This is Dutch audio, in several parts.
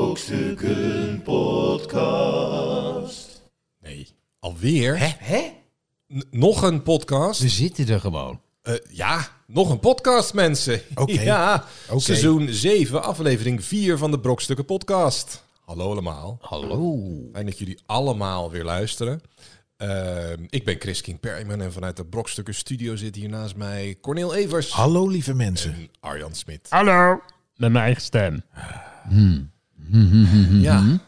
Brokstukken Podcast. Nee, alweer? Hè? Dus- N- nog een podcast? We zitten er gewoon. Eh, ja, nog een podcast, mensen. Oké. Ja, Oké. seizoen 7, aflevering 4 van de Brokstukken Podcast. Hallo allemaal. Hallo. Fijn dat jullie allemaal weer luisteren. Ehm, ik ben Christine Perryman en vanuit de Brokstukken Studio zit hier naast mij Cornel Evers Hallo lieve mensen. en Arjan Smit. Hallo. Met mijn eigen stem. Ja. Nou ja, Mhm.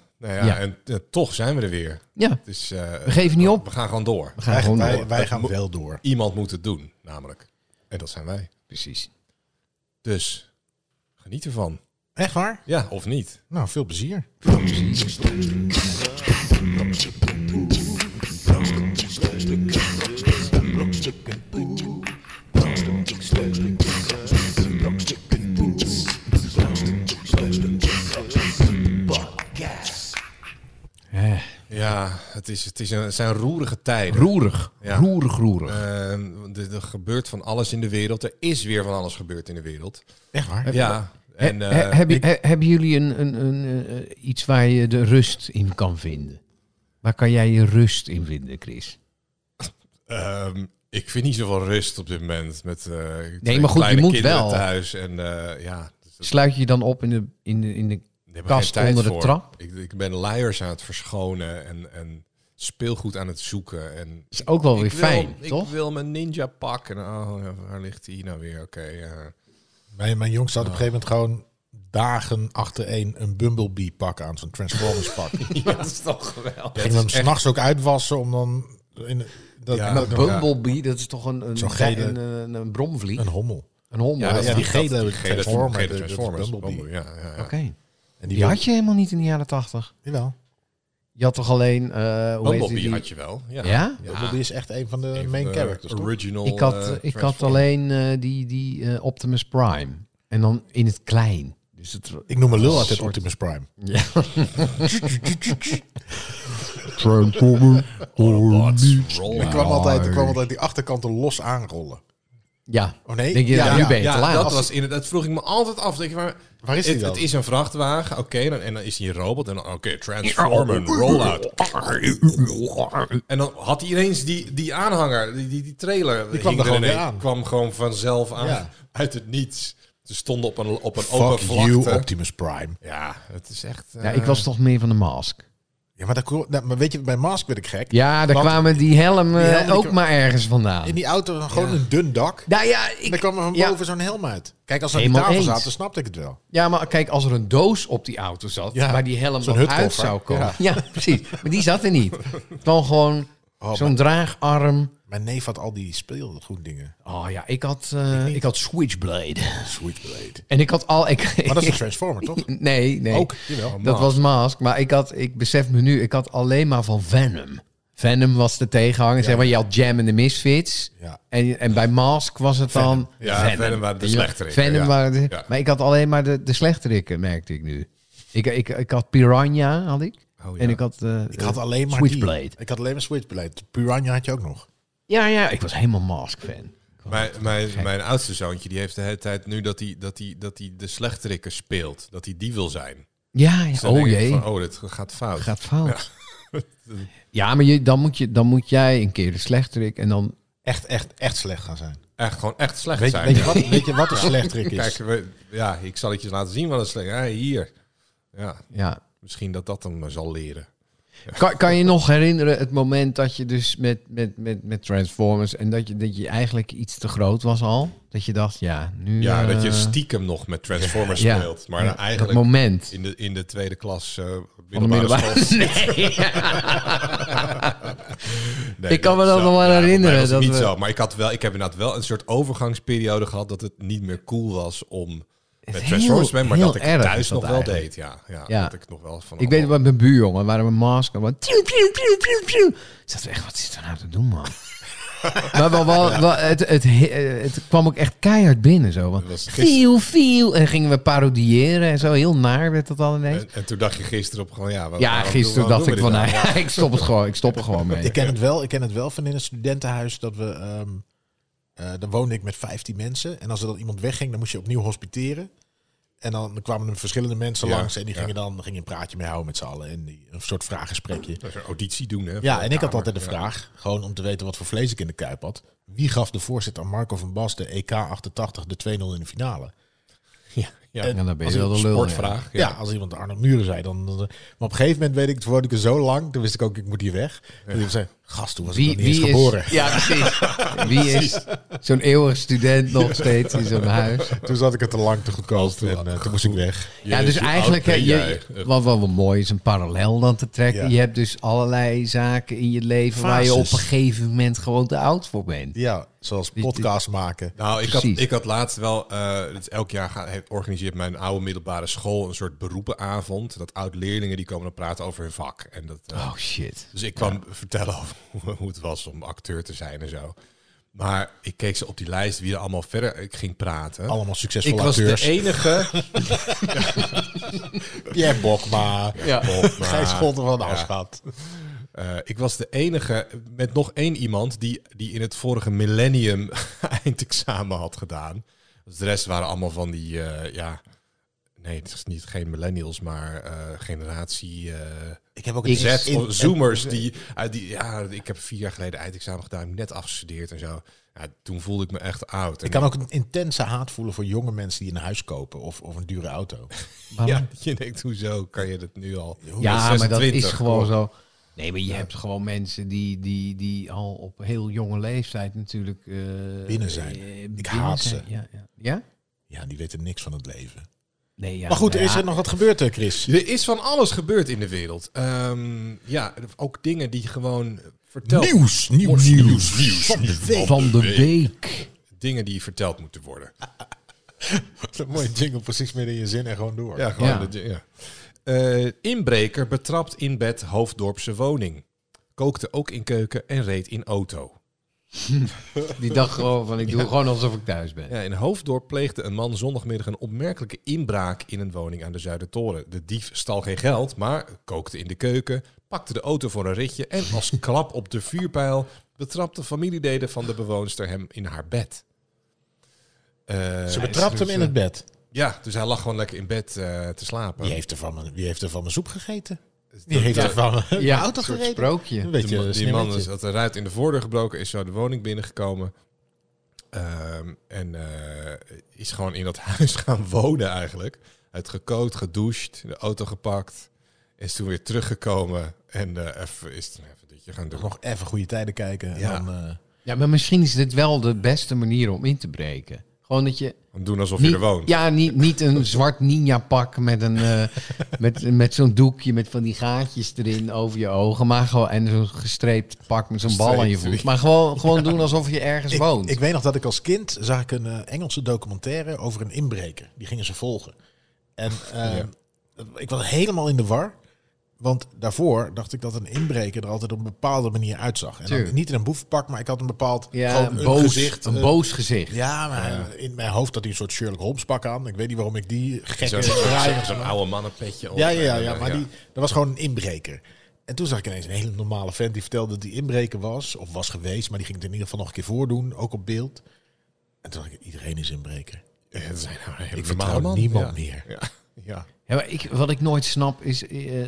Ja. en eh, toch zijn we er weer. Ja, Het is, eh, we geven niet op. we gaan gewoon door. We gaan gewoon wij, door. wij gaan wel door. Iemand moet het doen, namelijk. En dat zijn wij. Precies. Dus geniet ervan. Echt waar? Ja, of niet. Nou, veel plezier. Ja, het, is, het, is een, het zijn roerige tijden. Roerig. Ja. Roerig, roerig. Eh, er, er gebeurt van alles in de wereld. Er is weer van alles gebeurd in de wereld. Echt waar? Ja. En, He- eh, hebben, ik- he- hebben jullie een, een, een, eh, iets waar je de rust in kan vinden? Waar kan jij je rust in vinden, Chris? ehm, ik vind niet zoveel rust op dit moment. Met, eh, twee maar goed, je kleine moet kinderen wel. thuis. En eh, ja, dus dat- Sluit je je dan op in de, in de, in de daar heb ik kast geen tijd onder de voor. trap? Ik, ik ben luiers aan het verschonen en, en speelgoed aan het zoeken. En is ook wel weer ik wil- fijn, toch? Ik wil mijn ninja pakken. Oh, ja, waar ligt die nou weer? Oké, ja. Mijn, mijn jongste had op een gegeven moment gewoon dagen achtereen een Bumblebee pak aan, zo'n Transformers pak. Ging Ja, dat is toch geweldig. hem s'nachts ook uitwassen om dan in, dat, Ja. dat- maar Bumblebee, dat is toch een, een, Zo'n ge- gele- een, een, een bromvlieg? een Een, hommel. hommel? Ja, dat is Ja, Oké. die gele Gele Transformer, gele dat- dat is Transformers. Bumblebee. Bumblebee, Ja, ja, ja. En Die had je helemaal niet in de jaren tachtig. Jawel. Je had toch alleen... eh hoe heet Bumblebee die? had je wel. Ja? Ja? Bumblebee is echt een van de Een van main de characters, toch? Original. Ik had, eh, eh, ik had Transformers. alleen eh, die, die eh, Optimus Prime. En dan in het klein. Dus het... Ik noem mijn lul altijd Soort- Optimus Prime. Ja. Robots, roll Ik kwam, altijd, ik kwam altijd die achterkanten los aanrollen. ja. Oh nee? Denk je, Ja, nou, nu ja, ben je Ja, te laat. dat was inderdaad. Dat vroeg ik me altijd af. Denk je, maar, Waar is die het, dan? het is een vrachtwagen, oké, dan, en dan is hij een robot. En dan, oké, transformen, rollout. En dan had hij ineens die, die aanhanger, die, die, die trailer. Die kwam er gewoon weer aan. kwam gewoon vanzelf aan, Ja. uit het niets. Ze stonden op een, op een Fuck open vlakte. you, Optimus Prime. Ja, het is echt... Ja, eh, ik was toch meer van de mask. Ja, maar, dat, nou, maar weet je, bij Mask werd ik gek. Ja, daar Want kwamen die helm eh, die helm die ook kwam- maar ergens vandaan. In die auto gewoon een dun dak. Nou ja, ik- Dan kwam er van ja. boven zo'n helm uit. Kijk, als ze aan die Helemaal tafel eens. zaten, snapte ik het wel. Ja, maar kijk, als er een doos op die auto zat, Ja, waar die helm zo'n dan uit hutkoffer. zou komen. Ja. Oh, Ja. precies. Maar die zat er niet. Dan gewoon zo'n draagarm. Mijn neef had al die speelgoeddingen. Oh ja, ik had, eh, ik had Switchblade. Switchblade. En ik had al... Ik, Maar dat is een Transformer, toch? Nee, nee. Ook, jawel. Dat was Mask, maar ik, had, ik besef me nu, ik had alleen maar van Venom. Venom was de tegenhanger. Zeg maar, je had Jam en de Misfits. Ja. En, en bij Mask was het dan... Ja, Venom waren de Ja, slechterikken, Venom ja. waren de- Ja. Maar ik had alleen maar de, de slechterikken, merkte ik nu. Ik, ik, ik had Piranha, had ik. Oh, ja. En ik had, eh, Ik had alleen maar Switchblade. die. Ik had alleen maar Switchblade. Piranha had je ook nog. Ja, ja, ik was helemaal Mask-fan. Mijn, mijn, mijn oudste zoontje die heeft de hele tijd nu dat hij, dat hij, dat hij de slechterikker speelt. Dat hij die wil zijn. Ja, Dus ja. dan oh denk ik jee. van, oh, dit gaat fout. gaat fout. Ja, maar je, dan, moet je, dan moet jij een keer de slechterik en dan... Echt, echt, echt slecht gaan zijn. Echt gewoon echt slecht Weet, zijn. weet, je, ja. wat, weet je wat een slecht trick is? Kijk, we- ja, ik zal het je laten zien wat een slecht... Ja, hier. Ja, Ja, misschien dat dat hem zal leren. Kan, kan je nog herinneren het moment dat je dus met, met, met, met Transformers en dat je, dat je eigenlijk iets te groot was al? Dat je dacht, ja, nu. Ja, dat je eh, stiekem nog met Transformers Ja. speelt. Maar Ja, eigenlijk dat moment. in de, in de tweede klas eh Van de middelbare middelbare- school. Nee. Nee, Ik kan me dat zo- nog wel ja, voor herinneren, mij was het dat niet we- zo, maar ik, had wel, ik heb inderdaad wel een soort overgangsperiode gehad dat het niet meer cool was om met heel- Transformers te zijn, maar heel dat ik erg thuis is dat nog wel eigenlijk. deed. Ja, ja, Ja. Dat ik nog wel van. Ik weet wat mijn buurjongen waren we masker. Maar piu, piu, piu, piu, piu. Zat echt, wat zit er nou te doen, man? maar wel, wel, wel, het, het, het kwam ook echt keihard binnen zo. Want was gisteren- viel, viel. En gingen we parodiëren en zo. Heel naar werd dat al ineens. En, en toen dacht je gisteren op gewoon ja. wa- ja, waarom gisteren doen- waarom dacht ik doen van, we dit nou, nou? ja, ik stop het gewoon. Ik stop er gewoon mee. Ik ken het wel. Ik ken het wel van in een studentenhuis dat we. ehm, eh, dan woonde ik met 15 mensen. En als er dan iemand wegging, dan moest je opnieuw hospiteren. En dan kwamen er verschillende mensen Ja, langs en die ja. gingen dan gingen een praatje mee houden met z'n allen. En die, een soort vraaggesprekje. Dat is een auditie doen, hè? voor Ja, en de ik had Kamer. altijd de vraag, gewoon om te weten wat voor vlees ik in de kuip had. Wie gaf de voorzitter Marco van Bas de EK 88 de 2-0 in de finale? Ja, ja. En Ja, dan ben Als je wel een de lul. ja. sportvraag. Ja, als iemand Arno Muren zei, dan, dan- Maar op een gegeven moment weet ik, toen woonde ik er zo lang, toen wist ik ook, ik moet hier weg. Toen zei gast, toen was ik Wie, nog niet wie eens geboren. is, ja, precies. Wie is zo'n eeuwig student nog steeds in zo'n huis? Toen zat ik het te lang te goedkoop en eh, toen moest ik weg. Ja, dus hoe oud eigenlijk, hè, ben je, jij? wat wel mooi is, een parallel dan te trekken. Ja. Je hebt dus allerlei zaken in je leven waar je op een Fases. gegeven moment gewoon te oud voor bent. Ja, zoals podcast maken. Nou, ik had, Precies. ik had laatst wel, eh, het is elk jaar gaat, heeft- organiseert mijn oude middelbare school een soort beroepenavond. Dat oud-leerlingen die komen dan praten over hun vak. En dat, eh, Oh shit. Dus ik kwam vertellen over hoe- hoe het was om acteur te zijn en zo. Maar ik keek ze op die lijst wie er allemaal verder ik ging praten. Allemaal ik succesvolle was de E- acteurs. enige. Pierre Bokma, Bob, maar- Gijs Scholten van de Ja. Afschat. Eh, ik was de enige met nog één iemand die, die in het vorige millennium eindexamen had gedaan. Dus de rest waren allemaal van die, eh, ja, nee, het is niet geen millennials, maar eh, generatie eh, Ik heb ook Ik- Z, in- of zoomers. Die, uit die, ja, ik heb vier jaar geleden eindexamen gedaan, net afgestudeerd en zo. Ja, toen voelde ik me echt oud. En Ik kan ook een intense haat voelen voor jonge mensen die een huis kopen of, of een dure auto. Waarom? Ja, je denkt, hoezo kan je dat nu al? Hoe Ja, maar dat 26? is gewoon zo. Nee, maar je hebt gewoon mensen die, die, die al op heel jonge leeftijd natuurlijk... eh, Binnen zijn. eh, Ik binnen haat zijn. ze. Ja, ja. ja? Ja, die weten niks van het leven. Nee, ja. maar goed, er nou is ja. er nog wat gebeurd, hè, Chris? Er is van alles gebeurd in de wereld. Ehm, ja, ook dingen die gewoon verteld Nieuws, nieuws, nieuws, nieuws. Van de week. Van de Beek. dingen die verteld moeten worden. Een mooie jingle precies midden in je zin en gewoon door. Ja, gewoon Ja. dat je- ja. Eh, inbreker betrapt in bed Hoofddorpse woning. Kookte ook in keuken en reed in auto. Die dacht gewoon van, ik doe gewoon alsof ik thuis ben. Ja, in Hoofddorp pleegde een man zondagmiddag een opmerkelijke inbraak in een woning aan de Zuidertoren. De dief stal geen geld, maar kookte in de keuken, pakte de auto voor een ritje en als klap op de vuurpijl betrapte familieleden van de bewoonster hem in haar bed. Eh, Ze betrapt hem in het bed. Ja, dus hij lag gewoon lekker in bed eh, te slapen. Dus Wie heeft, er van mijn, wie heeft er van mijn soep gegeten? Wie heeft er van mijn Ja, auto een soort gereden? sprookje. Een beetje die, man- die man is, sneeuwtje. had een ruit in de voordeur gebroken, is zo de woning binnengekomen. Ehm, en eh, is gewoon in dat huis gaan wonen eigenlijk. Het gekookt, gedoucht, de auto gepakt. Is toen weer teruggekomen en eh, even, is toen even ditje gaan doen. Nog even goede tijden kijken. Ja. En dan, eh, Ja, maar misschien is dit wel de beste manier om in te breken. Gewoon dat je... Om doen alsof je Niet, er woont. ja, niet, niet een zwart ninja pak met, een, eh, met, met zo'n doekje met van die gaatjes erin over je ogen. Maar gewoon, en zo'n gestreept pak met zo'n bal aan je voet. Maar gewoon, gewoon doen alsof je ergens woont. ik, ik weet nog dat ik als kind zag ik een eh, Engelse documentaire over een inbreker. Die gingen ze volgen. En eh, ik was helemaal in de war. Want daarvoor dacht ik dat een inbreker er altijd op een bepaalde manier uitzag. En dan, Tuurlijk. niet in een boevenpak, maar ik had een bepaald ja, gewoon een een boos, gezicht. een eh, boos gezicht. Ja, maar in mijn hoofd had hij een soort Sherlock Holmes pak aan. Ik weet niet waarom ik die Zo'n gekke draai zo'n- zo'n oude mannenpetje. op. ja, ja, ja, En, ja, eh, maar Die, dat was gewoon een inbreker. En toen zag ik ineens een hele normale vent die vertelde dat die inbreker was, of was geweest, maar die ging het in ieder geval nog een keer voordoen, ook op beeld. En toen dacht ik, iedereen is inbreker. Ja, dat zijn nou een hele Ik normale vertrouw man. niemand Ja. meer. Ja. Ja. Ja, maar ik, wat ik nooit snap is... eh,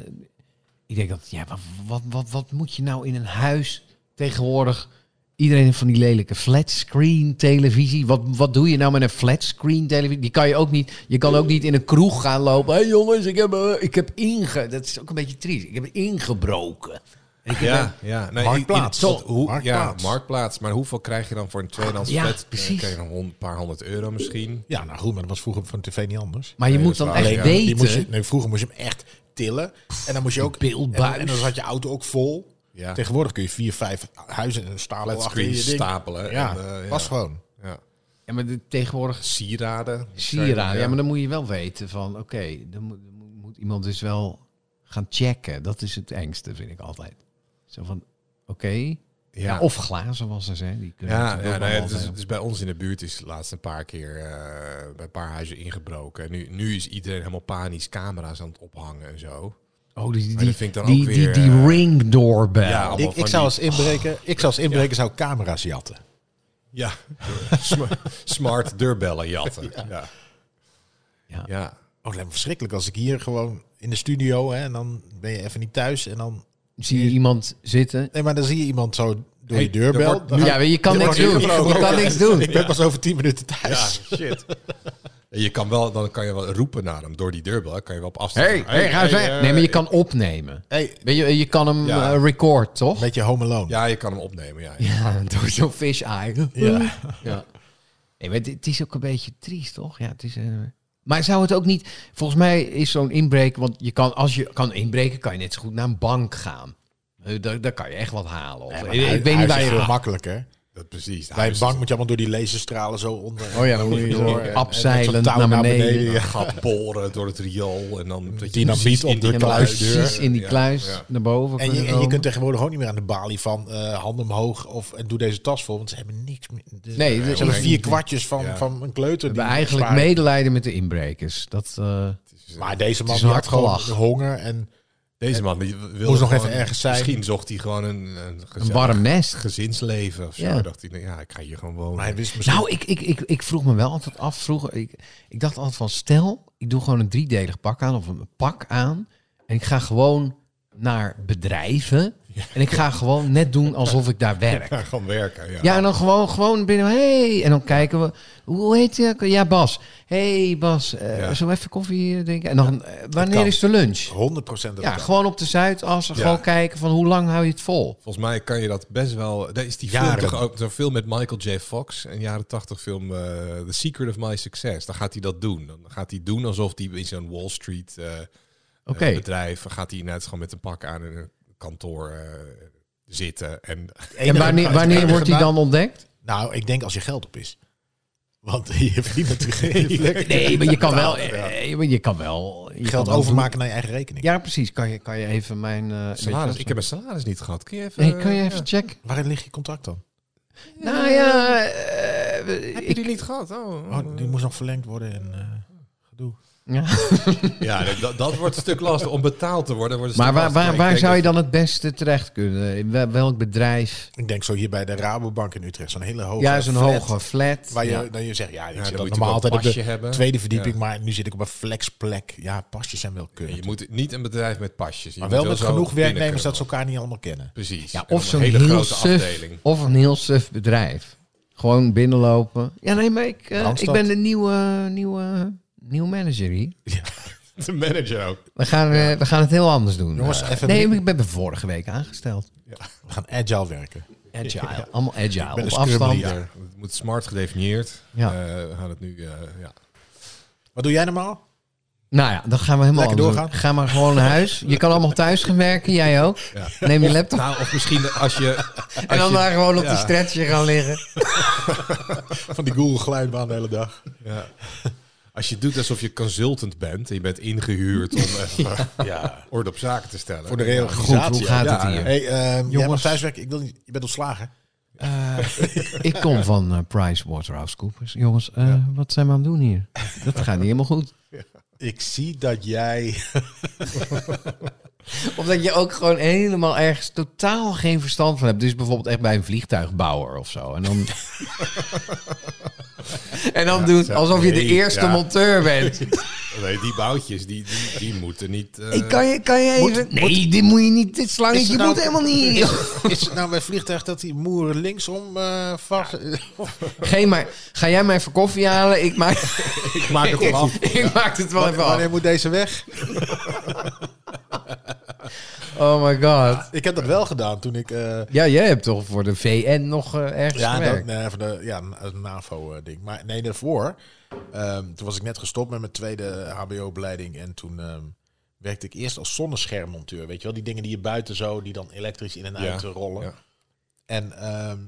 ik denk dat, ja, wat, wat, wat, wat moet je nou in een huis tegenwoordig... Iedereen heeft van die lelijke flatscreen televisie. Wat, wat doe je nou met een flatscreen televisie? Die kan je ook niet. Je kan ook niet in een kroeg gaan lopen. Hé hey jongens, ik heb, eh, ik heb inge. Dat is ook een beetje triest. Ik heb ingebroken. En ik heb een- Ja, ja. Nee, Marktplaats. in- in- tot hoe, Marktplaats. Ja, marktplaats. Maar hoeveel krijg je dan voor een tweedehands Ja, flat? Eh, precies. Krijg je een hond- paar honderd euro misschien. Ja, nou goed, maar dat was vroeger van tv niet anders. maar je Nee, moet dat dan is echt waar, ja. Die weten. moest je, nee, vroeger moest je hem echt tillen. En dan moest je ook. beeldbuis. En, en dan zat je auto ook vol. Ja. Tegenwoordig kun je vier, vijf huizen in een stapel achter je Flatscreens ding. stapelen. Ja, en, eh, was ja. gewoon. Ja. Ja, maar de, tegenwoordig Sieraden. sieraden. Ja, maar dan moet je wel weten van. Oké, dan moet, dan moet- moet iemand dus wel gaan checken. Dat is het engste, vind ik altijd. Zo van, oké. Ja. Ja, of glazen was er, hè? Die kunnen ja, natuurlijk ja, nou ja, ook allemaal het is, hebben. het is bij ons in de buurt is laatst een paar keer eh, bij een paar huizen ingebroken. En nu, nu is iedereen helemaal panisch camera's aan het ophangen en zo. Oh, die, die, Maar dat die, vind ik dan die, ook weer, die eh, ring doorbel. ja, Ja, allemaal Ik, van ik zou die- als inbreker, ik zou als inbreker zou camera's jatten. Ja, sm- smart deurbellen jatten. Ja. Ja. Ja. Ja. Oh, het lijkt me verschrikkelijk als ik hier gewoon in de studio hè, en dan ben je even niet thuis en dan. Zie je iemand zitten? Nee, maar dan zie je iemand zo door Hey, je deurbel. er wordt dan nu- gaat- Ja, je kan er niks wordt doen. Je ingebroken. kan niks doen. Ik ben pas over tien minuten Ja, thuis. shit. En je kan wel, dan kan je wel roepen naar hem door die deurbel. hè. Kan je wel op afstand. eh, Hey, hey, ga eens weg. Nee, maar je kan opnemen. Hey, Weet je, je kan hem Ja. eh, record, toch? beetje home alone. Ja, je kan hem opnemen. Ja, ja. Ja, door zo'n fish eye. Ja. Ja. Nee, maar het- het is ook een beetje triest, toch? Ja, het is, eh, Maar zou het ook niet... Volgens mij is zo'n inbreken... Want je kan, als je kan inbreken, kan je net zo goed naar een bank gaan. Eh, Daar, daar kan je echt wat halen. Of, Nee, maar ik, hu- ik weet niet huis waar is veel je... makkelijker. Dat, precies. Bij een bank moet je allemaal door die laserstralen zo onder. Oh ja, dan moet je zo abzeilend naar beneden. je gaat boren door het riool en dan dat je Dynamiet precies Mm. op in die de kluis. Precies in die Ja, kluis ja. naar boven. En je, en je komen. kunt tegenwoordig ook niet meer aan de balie van eh hand omhoog of en doe deze tas vol, want ze hebben niks meer. Dus Nee, ze dus- hebben vier nee. kwartjes van, Ja. van een kleuter. We die hebben eigenlijk sparen. medelijden met de inbrekers. Dat, eh, Maar deze man is die een had hard gewoon gelach. honger en Deze man die wilde Moest nog gewoon- even ergens zijn. Misschien zocht hij gewoon een, een, een gezellig warm nest. gezinsleven of zo. Ja. Dacht hij, nou ja, ik ga hier gewoon wonen. maar hij wist misschien. Nou, ik, ik, ik, ik vroeg me wel altijd af. Vroeger, ik, ik dacht altijd van, stel, ik doe gewoon een driedelig pak aan of een pak aan. En ik ga gewoon naar bedrijven. En ik ga gewoon net doen alsof ik daar werk. Ja, gewoon werken. Ja. Ja, en dan gewoon, gewoon binnen. Hey, en dan kijken we. Hoe heet je? Ja, Bas. hey, Bas. eh Ja. Zo even koffie hier drinken. En dan, eh, wanneer kan. is de lunch? Oh, 100 procent Nou- Ja, gewoon op de Zuidas. Gewoon kijken van hoe lang hou je het vol? Volgens mij kan je dat best wel. Daar is die Jaren. film toch ook zo'n film met Michael J. Fox, een jaren tachtig film, eh, The Secret of My Success. Dan gaat hij dat doen. Dan gaat hij doen alsof hij in zo'n Wall Street eh, Oké. eh, bedrijf gaat hij net gewoon met een pak aan in een kantoor eh, zitten en En wanneer, wanneer wordt die dan ontdekt? Nou, ik denk als je geld op is. Want je verdient natuurlijk geen lekker Nee, maar je kan wel. Ja. eh, maar Je kan wel. Je kan geld wel doen- overmaken naar je eigen rekening. Ja, precies. Kan je, kan je even mijn... eh, weet je wel, salaris. zo- Ik heb mijn salaris niet gehad. Kun je even? Nee, kan je eh, even checken? Waarin ligt je contract dan? Nou ja, eh, we- Heb je ik- die niet gehad? Oh, Eh. Oh, die moest nog verlengd worden en eh, gedoe. ja. Ja, dat, dat wordt een stuk lastig. Om betaald te worden wordt een Maar stuk waar, lastig. waar, Ik waar denk zou je dat- dan het beste terecht kunnen? In wel- welk bedrijf? Ik denk zo hier bij de Rabobank in Utrecht. Zo'n hele hoge Ja, zo'n flat, hoge flat. Waar je, Ja. dan je zegt, ja, ik Ja, zit dan moet dan je wel normaal een altijd op pasje de hebben. tweede verdieping, Ja. maar nu zit ik op een flexplek. Ja, pasjes zijn wel kut. Je moet niet een bedrijf met pasjes. Je maar moet wel met zo genoeg binnen kunnen. werknemers dat ze elkaar niet allemaal kennen. Precies. Ja, En dan of een zo'n hele heel grote suf, afdeling. of een heel suf bedrijf. Gewoon binnenlopen. Ja, nee, maar ik, eh, ik Randstad. ben de nieuwe, nieuwe, nieuwe manager hier. De manager ook. We gaan, eh, we gaan het heel anders doen. Jongens, Eh, even- nee, maar ik ben er vorige week aangesteld. We gaan agile werken. Agile. Allemaal agile. ben Op een scrum afstand. leader. Ja, het moet smart gedefinieerd. Ja. Eh, we gaan het nu. eh, ja. Wat doe jij normaal? Nou ja, dan gaan we helemaal Lekker anders doen. Ga maar gewoon naar huis. Je kan allemaal thuis gaan werken, jij ook. Ja. Neem je laptop Nou, of misschien als je. en dan daar gewoon op ja. de stretcher gaan liggen. Van die Google glijbaan de hele dag. Ja. Als je doet alsof je consultant bent en je bent ingehuurd om even Ja. orde op zaken te stellen. Voor de Goed, reorganisatie. hoe gaat Ja, het hier? Hey, ehm, jij Jongens. mag thuiswerken. Ik wil niet, je bent ontslagen. Ik kom van eh PricewaterhouseCoopers. Jongens, eh, wat zijn we aan het doen hier? Dat gaat niet helemaal goed. Ik zie dat jij... Omdat je ook gewoon helemaal ergens totaal geen verstand van hebt. Dus bijvoorbeeld echt bij een vliegtuigbouwer of zo. En dan, en dan doet alsof je de nee, eerste ja. monteur bent. Nee, die boutjes, die, die, die moeten niet. eh, Ik kan, je, kan je Moet- even... nee, dit moet je niet... Dit Is slangetje het nou- moet helemaal niet... Is het nou bij vliegtuig dat die moer linksom eh vast... Geen maar, ga jij mij even koffie halen? Ik maak, ik maak het wel af. ik maak het wel even af. Wanneer moet deze weg? Oh my god. Ik heb dat wel gedaan toen ik... eh, Ja, jij hebt toch voor de VN nog eh, ergens Ja, gewerkt? dat, nee, van de, ja een- een NAVO-ding. Maar nee, daarvoor, ehm, toen was ik net gestopt met mijn tweede HBO-opleiding. En toen ehm, werkte ik eerst als zonneschermmonteur. Weet je wel, die dingen die je buiten zo, die dan elektrisch in en Ja, uit eh, rollen. ja. En, ehm,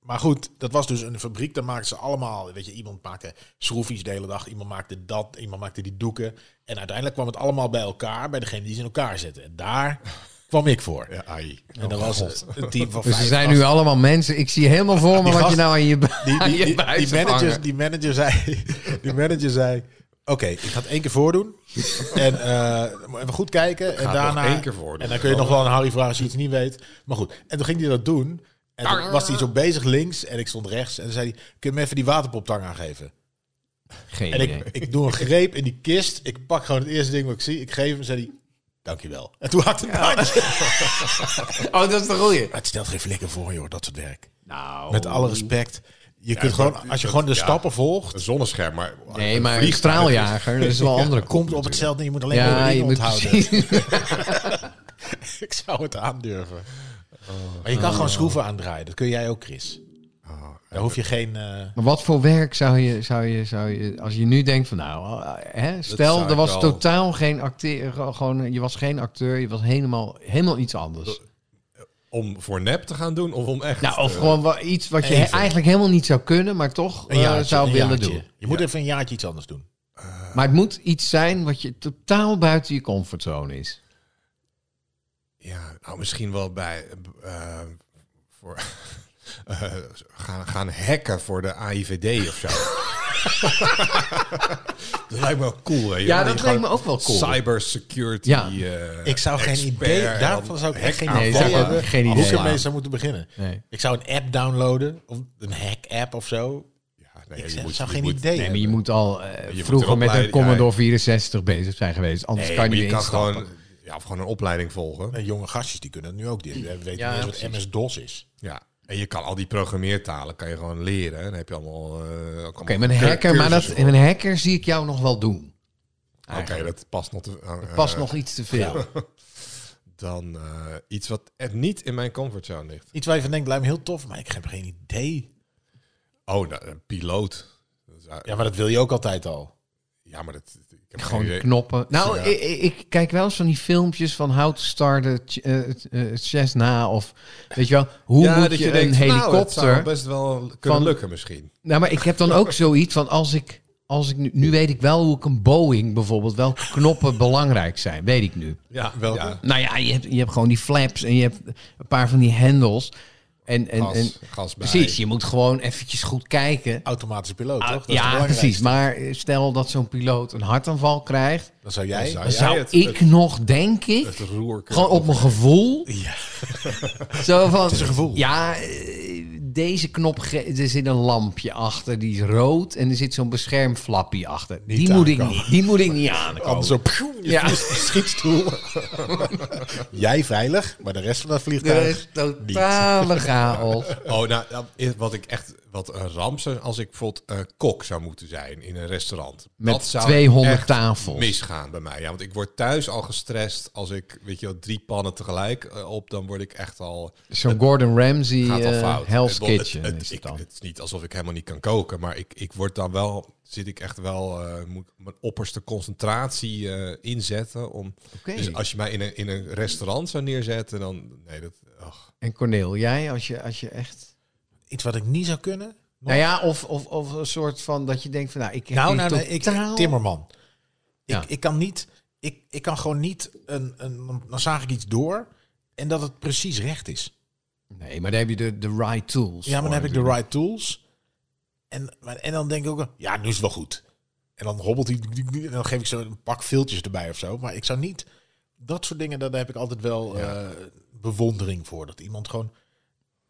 maar goed, dat was dus een fabriek. Daar maakten ze allemaal, weet je, iemand maakte schroefjes de hele dag. Iemand maakte dat, iemand maakte die doeken. En uiteindelijk kwam het allemaal bij elkaar, bij degene die ze in elkaar zetten. En daar kwam ik voor. Ja, Oh, ai. En dat was het een team van Dus er vijf zijn gasten. nu allemaal mensen. Ik zie helemaal voor me Die wat je gast- nou aan je, bu- Die, aan die, je die, buis die hebt manager, hangen. die manager zei, die manager zei oké, ik ga het één keer voordoen. en eh, moet even goed kijken. En het daarna. nog één keer voordoen. En dan kun je nog wel aan Harry vragen als je iets niet weet. Maar goed, en toen ging hij dat doen. En toen was hij zo bezig links en ik stond rechts. En toen zei hij, kun je me even die waterpoptang aangeven? Geen En idee. ik, ik doe een greep in die kist. Ik pak gewoon het eerste ding wat ik zie. Ik geef hem, zei hij, dankjewel. En toen had het bandje. Oh, dat is de goeie. Het stelt geen flikker voor, joh, dat soort werk. Nou. Met alle respect. Je kunt maar- gewoon, als je Oh. dat- gewoon de ja. stappen volgt, Een zonnescherm, maar... Nee, maar een straaljager, dat is wel een andere kop. komt op hetzelfde. Je moet alleen maar Ja, de je dingen moet onthouden. precies. Ik zou het aandurven. Oh. Maar je kan gewoon schroeven aandraaien. Dat kun jij ook, Chris. Daar hoef je geen... eh, Maar wat voor werk zou je, zou je, zou je, als je nu denkt van nou, hè, zou stel er ik was wel- totaal geen acteur, gewoon, je was geen acteur, je was helemaal, helemaal iets anders. Om voor nep te gaan doen of om echt... Nou, of eh, gewoon wa- iets wat je even. eigenlijk helemaal niet zou kunnen, maar toch een eh, jaartje, zou een willen jaartje. doen. Je moet even een jaartje iets anders doen. Maar het moet iets zijn wat je totaal buiten je comfortzone is. Ja, nou misschien wel bij... eh, voor, eh, gaan, gaan hacken voor de AIVD of zo. dat lijkt me wel cool, hè? joh. Ja, Die dat lijkt gewoon me ook wel cool. Cybersecurity. Ja. eh, Ik zou geen expert idee... en Daarvan zou ik echt geen hack Nee, idee zou ik ook hebben geen hoe idee ik ermee hebben. zou moeten beginnen. Nee. Ik zou een app downloaden. Of een hack-app of zo. Ja, nee, Ik je zeg, moet- zou je geen moet- idee Nee, maar hebben. je moet al eh, moet vroeger erop met een leiden, Commodore 64 bezig zijn geweest, anders Nee, kan je maar niet instappen. gewoon, ja, of gewoon een opleiding volgen. Eh, jonge gastjes die kunnen het nu ook. Die weten niet Ja, eens wat precies. MS-DOS is. Ja. En je kan al die programmeertalen kan je gewoon leren. En dan heb je allemaal. eh, ook Oké, allemaal mijn cur- hacker, maar dat, cursussen voor. mijn hacker zie ik jou nog wel doen. Oké, dat past nog. Te, aan- Pas eh, nog iets te veel. Dan eh, iets wat er niet in mijn comfortzone ligt. Iets waar je van denkt, lijkt me heel tof. Maar ik heb geen idee. Oh, nou, een piloot. Dat is- Ja, maar dat wil je ook altijd al. Ja, maar dat. Ik heb geen Gewoon idee. knoppen. Nou, Ja. ik, ik- ik kijk wel eens van die filmpjes van how to start a ch- eh, eh, chess na. Of weet je wel, hoe ja, moet dat je, een denkt, nou, het helikopter... zou Nou, best wel kunnen van- lukken misschien. maar ik heb dan ook zoiets van als ik... Als ik nu, nu weet ik wel hoe ik een Boeing bijvoorbeeld... Welke knoppen belangrijk zijn, weet ik nu. Ja, welke? Ja, Nou ja, je hebt, je hebt gewoon die flaps en je hebt een paar van die hendels. En, en, gas, en gas bij. precies, je moet gewoon eventjes goed kijken. Automatische piloot, Ah, toch? Dat is ja, belangrijk. precies. Maar eh, stel dat zo'n piloot een hartaanval krijgt... Dan zou jij... Dan Dan Ja, zou het- ik het- nog, denk ik, Het roer. gewoon op mijn gevoel. Ja. Zo van, het is een gevoel. Ja, eh, deze knop, ge- er zit een lampje achter, die is rood. En er zit zo'n beschermflappie achter. die, moet ik aankomen. niet, die moet ik niet aankomen. Anders zo, pjoem, je Oh. Ja. vliegt op de schietstoel. Jij veilig, maar de rest van dat Er vliegtuig... is totale chaos. Oh, nou, nou, is- wat ik echt wat een ramp zou als ik bijvoorbeeld eh, kok zou moeten zijn in een restaurant. Met dat zou 200 echt tafels. misgaan bij mij. Ja, want ik word thuis al gestrest als ik, weet je, wel, drie pannen tegelijk eh, op, dan word ik echt al Zo'n Gordon Ramsay, gaat al eh, fout. Hell's Ik bedoel, Kitchen het, het, is het ik- dan. het is niet alsof ik helemaal niet kan koken, maar ik, ik word dan wel, zit ik echt wel, eh, moet ik mijn opperste concentratie eh, inzetten om. Oké. Dus als je mij in een, in een restaurant zou neerzetten, dan nee, dat. ach. En Corneel, jij als je, als je echt... Iets wat ik niet zou kunnen? Nou ja, of, of, of een soort van dat je denkt van, nou, ik heb Nou, hier nou, nee, ik, totaal- Timmerman. Ja. Ik, ik kan niet... Ik, ik kan gewoon niet... Een, een, dan zaag ik iets door en dat het precies recht is. Nee, maar dan heb je de, de right tools. Ja, maar dan voor heb ik de natuurlijk. right tools. En, maar- en dan denk ik ook, ja, nu is het wel goed. En dan hobbelt hij, en dan geef ik zo een pak filtjes erbij of zo. Maar ik zou niet, dat soort dingen, daar heb ik altijd wel eh, bewondering voor. Dat iemand gewoon,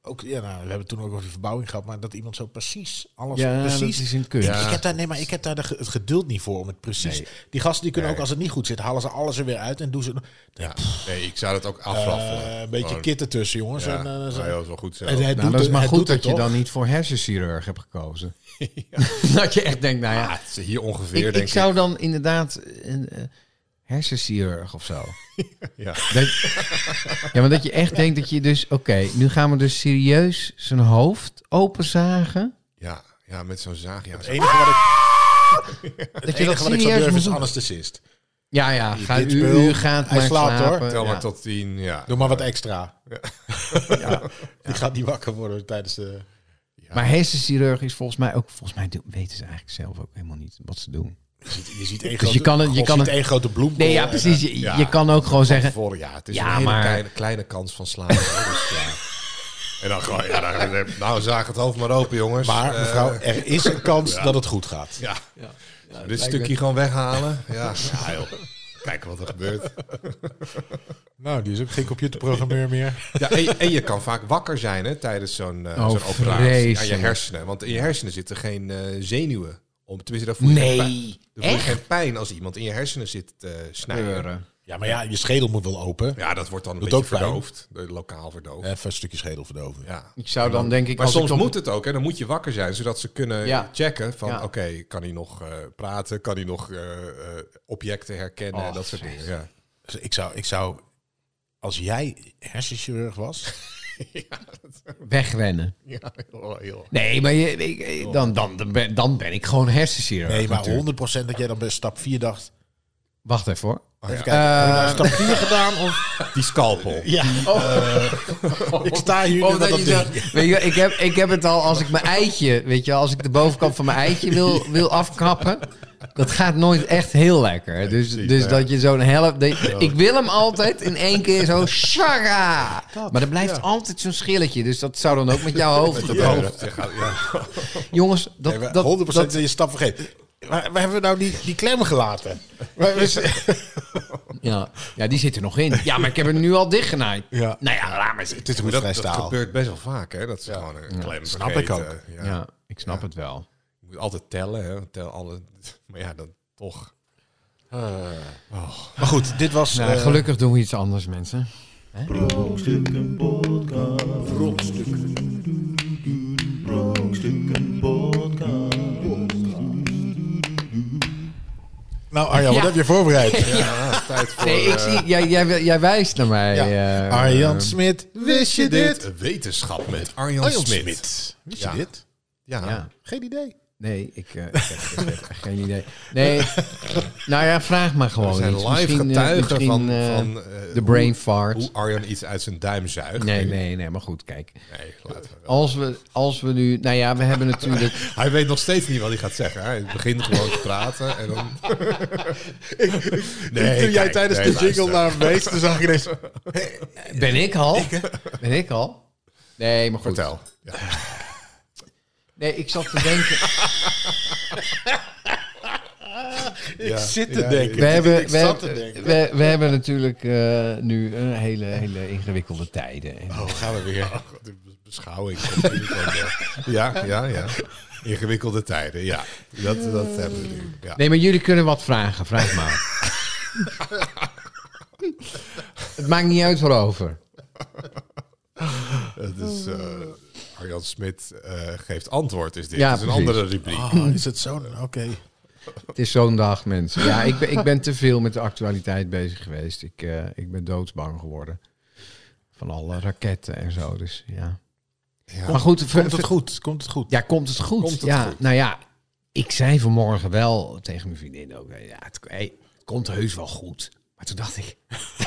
ook, ja, nou, we hebben het toen ook over die verbouwing gehad, maar dat iemand zo precies, alles Ja, precies. dat is een Ik, kunst. ik heb daar, nee, maar ik heb daar de ge- het geduld niet voor om het precies. Nee. Die gasten die kunnen Nee. ook als het niet goed zit, halen ze alles er weer uit en doen ze Ja, nee, ik zou dat ook afraffelen. Eh, een beetje Oh. Gewoon. kit ertussen, jongens. Ja, En, eh, zo- nou ja, dat is wel goed zo. en hij Nou, doet dat is het- maar hij goed doet dat het je toch? dan niet voor hersenchirurg hebt gekozen. dat je echt denkt, nou ja, Ah, het is hier ongeveer, ik, ik denk ik. zou dan inderdaad een eh, hersenchirurg of zo. Ja. Dat- ja, maar dat je echt denkt dat je dus, oké, nu gaan we dus serieus zijn hoofd openzagen. Ja, ja, met zo'n zaag. Ja, Het zo- enige wat Dat ik, het je enige dat wat ik serieus zou durven moet is doen. anesthesist. Ja, ja, ga, dit u, spul, u gaat hij maar slaapt, hoor. slapen. Tel maar Ja. tot tien. Ja. Doe maar wat extra. Die gaat niet wakker worden tijdens de... Maar hersenchirurg is volgens mij ook, volgens mij doen- weten ze eigenlijk zelf ook helemaal niet wat ze doen. Je ziet, je ziet één Dus grote, je kan het- je God kan ziet het- één grote eh, bloemkool. Nee, eh, ja, en, precies. Je, ja. je kan ook gewoon zeggen, Voor, ja, het is Ja, een hele maar- kleine, kleine kans van slagen. hoor, dus ja. En dan gewoon, ja, dan, nou zaag het hoofd maar open, jongens. eh, maar Eh, mevrouw, er is een kans dat het goed gaat. ja. dit lijkt stukje gewoon weghalen. Ja, ja joh. Kijken wat er gebeurt. Nou, die is ook geen computerprogrammeur meer. Ja, en, je- en je kan vaak wakker zijn hè, tijdens zo'n eh, Oh, zo'n operatie. Aan je vreselijk. hersenen. Want in je hersenen zitten geen eh zenuwen Om, tenminste, daar voel je, geen, pijn, Nee. daar voel je Echt? geen pijn als iemand in je hersenen zit te snijden. Ja, maar ja, je schedel moet wel open. Ja, dat wordt dan een Doet beetje ook pijn. verdoofd. eh, Lokaal verdoofd. Even een stukje schedel verdoven. Ja. Ik zou dan denk ik... Maar als soms ik dan- moet het ook, hè? dan moet je wakker zijn, zodat ze kunnen Ja. checken van Ja. oké, kan hij nog eh, praten, kan hij nog eh, eh, objecten herkennen en Oh, dat soort dingen. Ja. Dus ik, zou, ik zou, als jij hersenchirurg was, Wegrennen. Ja, heel, Oh, heel. Nee, maar je, ik- ik- dan, dan, dan, ben, dan ben ik gewoon hersenchirurg. Oh. nee, maar natuurlijk. 100% dat jij dan bij stap 4 dacht. Wacht even hoor. Even kijken, heb ik nou Eh, stap 4 gedaan? Of, Die scalpel. ja, ik sta hier nu met Omdat dat dus- je ding. zegt, weet je, wel, ik, heb, ik heb het al als ik mijn eitje, weet je, wel, als ik de bovenkant van mijn eitje wil, wil afkappen. Dat gaat nooit echt heel lekker. Dus, precies, dus nou ja. dat je zo'n helft. dat- Ik wil hem altijd in één keer zo. Shara! Maar er blijft altijd zo'n schilletje. Dus dat zou dan ook met jouw hoofd Ja, gebeuren. dat- ja, ja. Jongens, dat, Nee, maar dat, 100% dat, dat- je stap vergeet. Waar, waar hebben we nou die, die klem gelaten? Waar is- ja, ja, die zit er nog in. Ja, maar ik heb hem nu al dichtgenaaid. Ja. Nou ja, laat maar zitten. het is een Maar vrij dat, dat staal. gebeurt best wel vaak, hè? Dat ze gewoon een klem Snap vergeten. ik ook. Ja. Ja, ik snap het wel. Je moet altijd tellen, hè? Tel alle... Maar ja, dan toch. Maar goed, dit was... Nou, eh, gelukkig doen we iets anders, mensen. Brokstukken podcast. Brokstukken. Brokstukken podcast. nou Arjan, wat Ja. heb je voorbereid? Ja, tijd voor... Nee, ik zie, jij, jij, jij wijst naar mij. Ja. eh, Ah, Arjan Smit, wist je dit? Wetenschap met Arjan, Arjan Smit. Smit. Wist Ja. je dit? Ja. Ja. Geen idee. Nee, ik, eh, ik, heb, ik heb echt geen idee. Nee, nou ja, vraag maar gewoon. We zijn iets. live Misschien, eh, getuigen misschien, van, eh, van eh, de brain hoe, fart. hoe Arjan iets uit zijn duim zuigt. nee, nee, nee, maar goed, kijk. Nee, laten we wel. Als we, als we nu, nou ja, we hebben natuurlijk... Hij weet nog steeds niet wat hij gaat zeggen. Hij begint gewoon te praten en dan... nee, Toen jij kijk, tijdens nee, de luister. jingle naar hem wees, toen zag ik ineens... Ben ik al? Ben ik al? Nee, maar goed. Vertel. Ja. Nee, ik zat te denken... Ik zit te Ja, denken. We hebben, Ik we, zat hebben- te denken. we, we hebben natuurlijk eh, nu een hele, hele ingewikkelde tijden. En- Oh, gaan we weer. de beschouwing. komt hier van, eh, ja, ja, ja. Ingewikkelde tijden, ja. Dat, dat hebben we nu. Ja. Nee, maar jullie kunnen wat vragen. Vraag maar. het maakt niet uit waarover. Het is, eh, Arjan Smit eh, geeft antwoord, is dit. Ja, Ja, is een precies. andere rubriek. Oh, is het zo? Oké. Het is zo'n dag, mensen. Ja, ik ben, ik ben te veel met de actualiteit bezig geweest. Ik, eh, ik ben doodsbang geworden. Van alle raketten en zo. Dus ja. Ja. Maar goed, ver- Komt het ver- goed? Komt het goed? Ja, komt het goed? Komt het ja, goed? nou ja, ik zei vanmorgen wel tegen mijn vriendin ook. eh, Ja, het, hey, het komt heus wel goed. Maar toen dacht ik,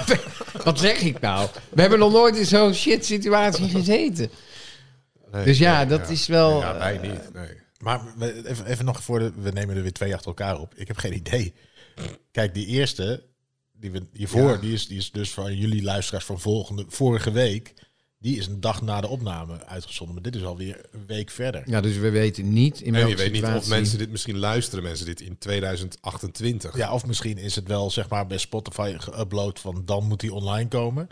wat zeg ik nou? We hebben nog nooit in zo'n shit situatie gezeten. Nee, Dus ja, nee, dat is wel, eh, Ja, wij eh, niet. Nee. Maar we- even, even nog voor de... We nemen er weer twee achter elkaar op. Ik heb geen idee. Kijk, die eerste, die we hiervoor, Ja. die, is, die is dus van jullie luisteraars van volgende, vorige week. Die is een dag na de opname uitgezonden. Maar dit is alweer een week verder. Ja, dus we weten niet in En welke je weet niet of situatie- mensen dit misschien luisteren, mensen dit in 2028. Ja, of misschien is het wel zeg maar bij Spotify geüpload van dan moet die online komen.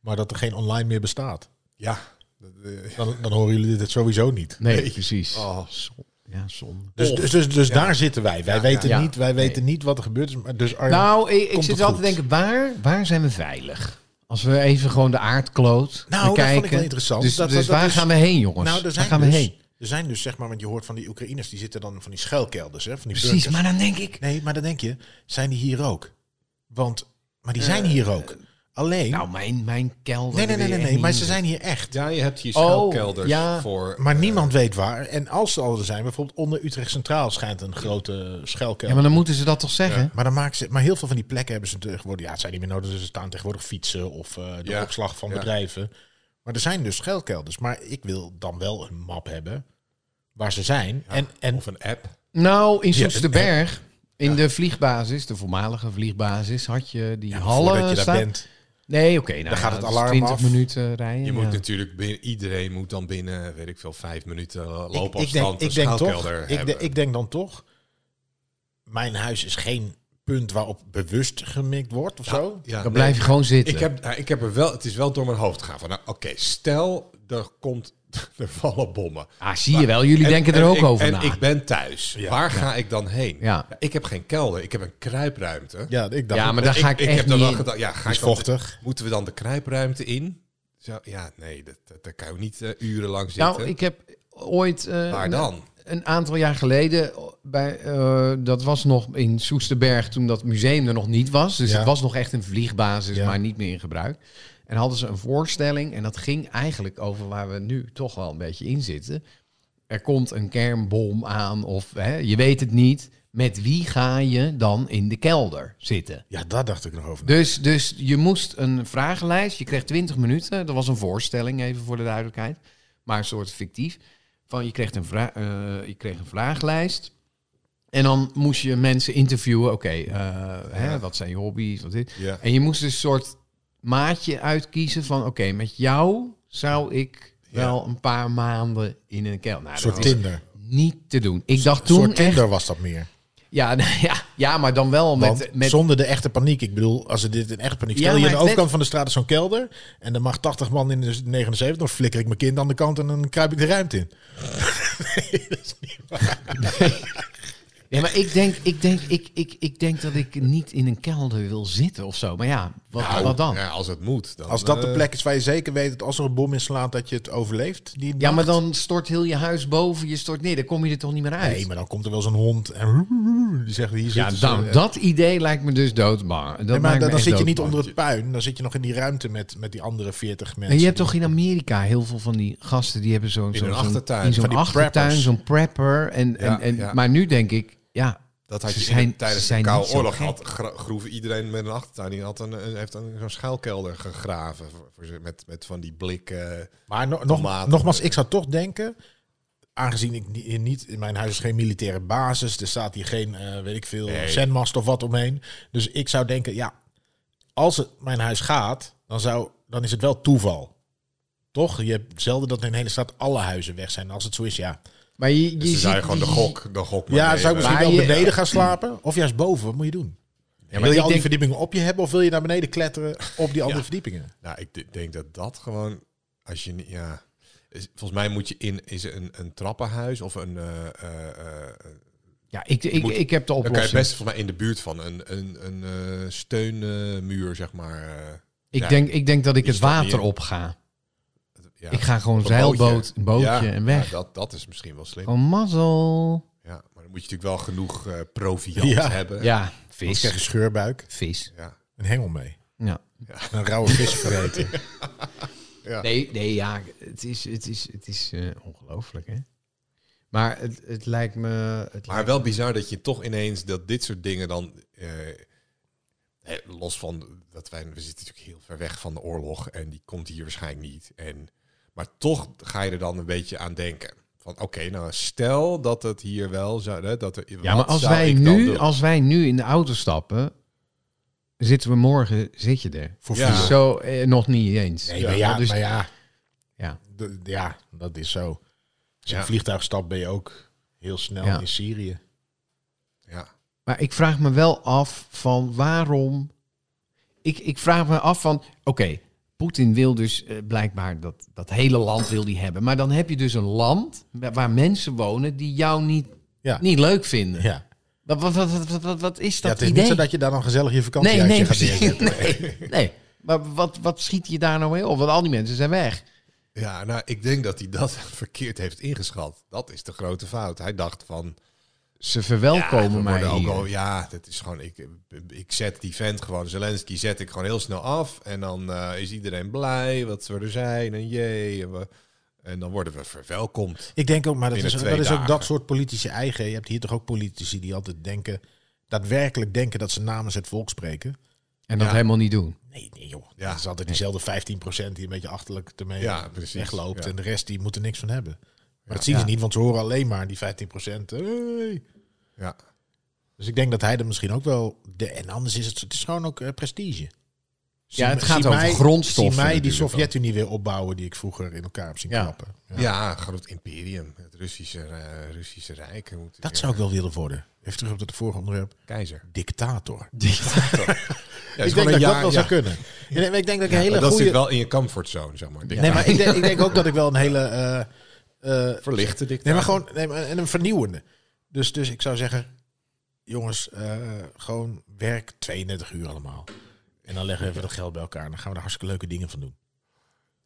Maar dat er geen online meer bestaat. Ja. Dat, eh, Dan, dan horen jullie dit sowieso niet. Nee, precies. Oh. Zon- Ja, zonde. Dus, dus, dus, dus daar zitten wij. Wij weten, Ja. Niet, wij weten niet wat er gebeurd is. Maar dus Arjan, Nou, ik, ik Komt zit het altijd te goed? denken, waar, waar zijn we veilig? Als we even gewoon de aardkloot Nou, dat vond ik bekijken. wel interessant. Dus, Dat- dus dat- dat waar is- gaan we heen, jongens? Nou, er waar zijn, gaan dus, we heen? er zijn dus zeg maar, want je hoort van die Oekraïners, die zitten dan van die schuilkelders, hè, van die Precies, bunkers. maar dan denk ik... Nee, maar dan denk je, zijn die hier ook? Want, maar die zijn hier ook. Alleen, Eh, Nou, mijn, mijn kelder. nee, nee, nee, weer nee, en nee, maar hier. ze zijn hier echt. ja, je hebt hier Oh, schuilkelders ja. voor... Maar niemand weet waar. En als ze al er zijn, bijvoorbeeld onder Utrecht Centraal schijnt een grote schuilkelder. Ja, maar dan moeten ze dat toch zeggen? Maar dan maken ze, maar heel veel van die plekken hebben ze tegenwoordig. Ja, het zijn niet meer nodig. Dus ze staan tegenwoordig fietsen of eh, de Ja. opslag van Ja. bedrijven. Maar er zijn dus schuilkelders. Maar ik wil dan wel een map hebben waar ze zijn. en, en Of een app. Nou, in Ja, Soesterberg, in de vliegbasis, de voormalige vliegbasis, had je die hallen voordat je daar staan. bent. Nee, oké. nou, Dan gaat het dat is alarm 20 af. minuten rijden. Je moet ja. natuurlijk binnen, iedereen moet dan binnen, weet ik veel, vijf minuten Ik, ik, loopafstand denk, een ik, denk toch, schouwkelder ik, de- hebben. ik denk dan toch. Mijn huis is geen punt waarop bewust gemikt wordt of zo. ja, Dan nee. blijf je gewoon zitten. ik heb, ik heb nou, er wel, het is wel door mijn hoofd gegaan van, nou, oké, stel er komt er vallen bommen. Ah, zie je wel. Jullie En- denken er en ook ik- over En na. ik ben thuis. Waar ga ik dan heen? Ja. ik heb geen kelder. Ik heb een kruipruimte. Ja, ik dacht... ja, maar daar ga ik, echt heb dan niet wel in. gedacht, ja, ga Is ik dan- vochtig. moeten we dan de kruipruimte in? Zo, ja, nee, dat, dat, daar kan je niet eh, urenlang zitten. Nou, ik heb ooit... eh, Waar dan? Een aantal jaar geleden, bij, eh, dat was nog in Soesterberg toen dat museum er nog niet was. Dus Ja. het was nog echt een vliegbasis, Ja. maar niet meer in gebruik. En hadden ze een voorstelling en dat ging eigenlijk over waar we nu toch wel een beetje in zitten. Er komt een kernbom aan of hè, je weet het niet. Met wie ga je dan in de kelder zitten? Ja, daar dacht ik nog over. na. Dus, dus je moest een vragenlijst. Je kreeg 20 minuten. Dat was een voorstelling, even voor de duidelijkheid. Maar een soort fictief. Van je, kreeg een vra- eh, je kreeg een vragenlijst. En dan moest je mensen interviewen. Oké, eh, hè, wat zijn je hobby's? Wat dit? Ja. En je moest dus een soort maatje uitkiezen van... Oké, met jou zou ik wel een paar maanden in een kelder... Nou, Een dat soort is Tinder. niet te doen. Ik dacht Een toen soort Tinder echt... was dat meer. Ja, ja, ja, maar dan wel Want met... met zonder de echte paniek. Ik bedoel, als ze dit in echte paniek... Ja, Stel je maar aan de het overkant van de straat is zo'n kelder... en er mag 80 man in de 79... dan flikker ik mijn kind aan de kant en dan kruip ik de ruimte in. Ja, maar ik denk, ik, denk, ik, ik, ik denk dat ik niet in een kelder wil zitten of zo. Maar ja, wat, Nou, wat dan? ja, als het moet. Dan, Als dat de eh, plek is waar je zeker weet... dat als er een bom inslaat dat je het overleeft. Die Ja, maar nacht. dan stort heel je huis boven, je stort neer. Dan kom je er toch niet meer uit? Nee, maar dan komt er wel zo'n hond en die zegt hier ja, zitten ze. dan, dat idee lijkt me dus doodbaar. Dat Nee, maar maakt me dan, dan echt zit je niet doodbang. onder het puin, dan zit je nog in die ruimte met, met die andere 40 mensen. En je hebt toch in Amerika heel veel van die gasten die hebben zo'n In zo'n- hun zo'n- achtertuin, in zo'n van die achtertuin, preppers. zo'n prepper. En, en, en, ja. Maar nu denk ik, ja, Dat had Ze je in- zijn- tijdens ze de zijn Koude niet zo Oorlog gek. had, gra- groeven iedereen met een achtertuin. Die had een, een- heeft een, zo'n schuilkelder gegraven voor, voor ze- met, met van die blikken. Maar no- nog- Tomaten. nogmaals, ik zou toch denken, aangezien ik ni- niet in mijn huis is geen militaire basis, er staat hier geen, eh, weet ik veel, Nee. zendmast of wat omheen. Dus ik zou denken, ja, als het mijn huis gaat, dan, zou, dan is het wel toeval. Toch? Je hebt zelden dat in een hele stad alle huizen weg zijn. Als het zo is, ja. maar je, je Dus ze ziet- zijn gewoon de je- gok. De gok maar Ja, nemen. zou ik misschien Maar wel je- beneden gaan slapen? Of juist boven? Wat moet je doen? maar wil ik je al die denk- verdiepingen op je hebben of wil je naar beneden kletteren op die andere Ja. verdiepingen? Nou, ik d- denk dat dat gewoon, als je niet, ja, is- volgens mij moet je in, is er een, een trappenhuis of een, eh, eh, eh, Ja, ik, ik, Moet- ik heb de dan kan je oplossing. best volgens mij in de buurt van een, een, een eh, steunmuur, zeg maar. eh, Ik Ja. denk, ik denk dat ik Die het staat niet water in. opga. ja, Ik ga gewoon op een bootje. zeilboot, een bootje Ja, en weg. ja, dat, dat is misschien wel slim. Oh, mazzel. Ja, maar dan moet je natuurlijk wel genoeg eh, proviant Ja. hebben. Ja, Ik krijg vis. een scheurbuik, Vis. Ja. een hengel mee. Ja. En Een rauwe vis vergeten. Nee, nee, ja, het is, het is, het is eh, ongelooflijk, hè? Maar het, het lijkt me... Het Maar lijkt- wel bizar dat je toch ineens dat dit soort dingen dan. eh, eh, los van dat wij. We zitten natuurlijk heel ver weg van de oorlog. En die komt hier waarschijnlijk niet. En, maar toch ga je er dan een beetje aan denken. Van oké, nou stel dat het hier wel zou. Hè, dat er, ja, maar als wij, nu, als wij nu in de auto stappen, zitten we morgen, zit je er. Voor Ja. vier. Zo eh, nog niet eens. Nee, maar ja, dus, maar ja, ja. d- ja, dat is zo. Als je Ja. een vliegtuig stapt, ben je ook heel snel Ja. in Syrië. Ja, Maar ik vraag me wel af van waarom... Ik, ik vraag me af van, oké, Poetin wil dus eh, blijkbaar dat, dat hele land wil die hebben. Maar dan heb je dus een land wa- waar mensen wonen die jou niet, Ja. niet leuk vinden. Ja. Wat, wat, wat, wat, wat, wat is ja, dat het is idee? niet zo dat je daar dan gezellig je vakantie nee, nee, gaat precies. neerzetten. nee, nee. Maar wat, wat schiet je daar nou mee op? Want al die mensen zijn weg. Ja, nou, ik denk dat hij dat verkeerd heeft ingeschat. Dat is de grote fout. Hij dacht van. Ze ja, we verwelkomen mij worden ook hier. al- ja, dat is gewoon. Ik, ik zet die vent gewoon. Zelensky zet ik gewoon heel snel af. En dan eh, is iedereen blij wat we er zijn. En jee. En, we- en dan worden we verwelkomd. Ik denk ook, maar dat, Binnen is, twee dat is ook dagen. dat soort politici eigen. Je hebt hier toch ook politici die altijd denken, daadwerkelijk denken dat ze namens het volk spreken. En dat Ja. helemaal niet doen. Nee, nee joh. Ja. Dat is altijd diezelfde 15% die een beetje achterlijk ermee Ja, precies. wegloopt. Ja. En de rest die moet er niks van hebben. Maar dat zien ze Ja. niet, want ze horen alleen maar die 15%. Hey. Ja. Dus ik denk dat hij er misschien ook wel... De, en anders is het, het is gewoon ook eh, prestige. Zie- Ja, het zie gaat over mij- grondstoffen Zie mij die natuurlijk ook. Sovjet-Unie weer opbouwen die ik vroeger in elkaar heb zien Ja. klappen. Ja. Ja, groot imperium. Het Russische, eh, Russische Rijk. Er moet weer Dat zou ik wel willen worden. Even terug op het vorige onderwerp. een Keizer. Dictator. Ja, is ik gewoon een denk dat ik dat jaar- wel ja. zou kunnen. Ja, nee, maar ik denk dat ik een hele Maar dat goede... zit wel in je comfortzone, zeg maar. Nee, maar ik denk, ik denk ook dat ik wel een hele... eh, eh, Verlichte dictator. Nee, maar gewoon nee, maar en een vernieuwende. Dus, dus ik zou zeggen, jongens, eh, gewoon werk 32 uur allemaal. En dan leggen we even dat geld bij elkaar. En dan gaan we er hartstikke leuke dingen van doen.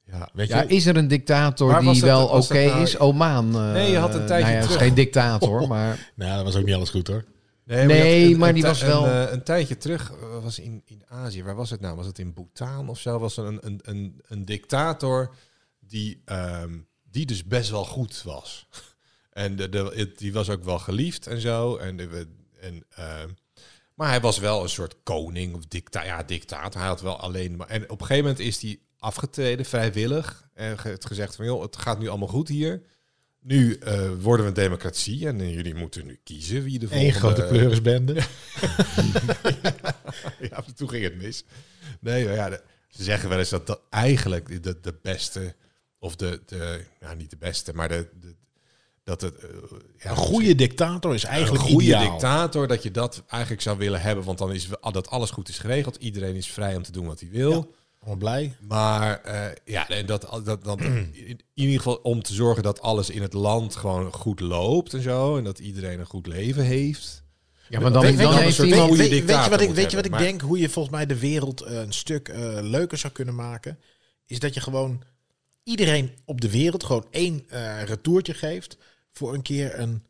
Ja, weet je? Ja, is er een dictator Waar was die dat- wel oké was dat nou- is? Omaan. eh, Nee, je had een tijdje nou ja, is terug. geen dictator, maar Nou, dat was ook niet alles goed hoor. je had Nee, een- maar een die ti- was wel- Een, eh, een tijdje terug eh, was in, in Azië. Waar was het nou? Was het in Bhutan of zo? Was er een, een, een, een dictator die, ehm, die dus best wel goed was. En de, de, het- die was ook wel geliefd en zo. En, de- en, ehm, maar hij was wel een soort koning of dicta ja, dictator. Hij had wel alleen... Maar, en op een gegeven moment is hij afgetreden, vrijwillig. En ge- het gezegd van, joh, het gaat nu allemaal goed hier. Nu eh, worden we een democratie en eh, jullie moeten nu kiezen wie de volgende... Eén grote pleurisbende. ja, toen ging het mis. Nee, maar ja, de- ze zeggen wel eens dat, dat eigenlijk de- de, de beste, of de, de, nou niet de beste, maar de, de- dat het... eh, ja, Een goede dictator is eigenlijk een goede ideaal. dictator, dat je dat eigenlijk zou willen hebben, want dan is we- dat alles goed is geregeld. Iedereen is vrij om te doen wat hij wil. Allemaal blij. Maar eh, ja, en dat, dat, dat, in ieder geval om te zorgen dat alles in het land gewoon goed loopt en zo. En dat iedereen een goed leven heeft. ja, maar dan, dan, Weet- weet- heeft weet- Weet, iemand... goede weet- weet je dictator wat ik, moet weet je wat ik hebben, denk? Hoe je volgens mij de wereld eh, een stuk eh, leuker zou kunnen maken. Is dat je gewoon iedereen op de wereld gewoon één eh, retourtje geeft. Voor een keer een,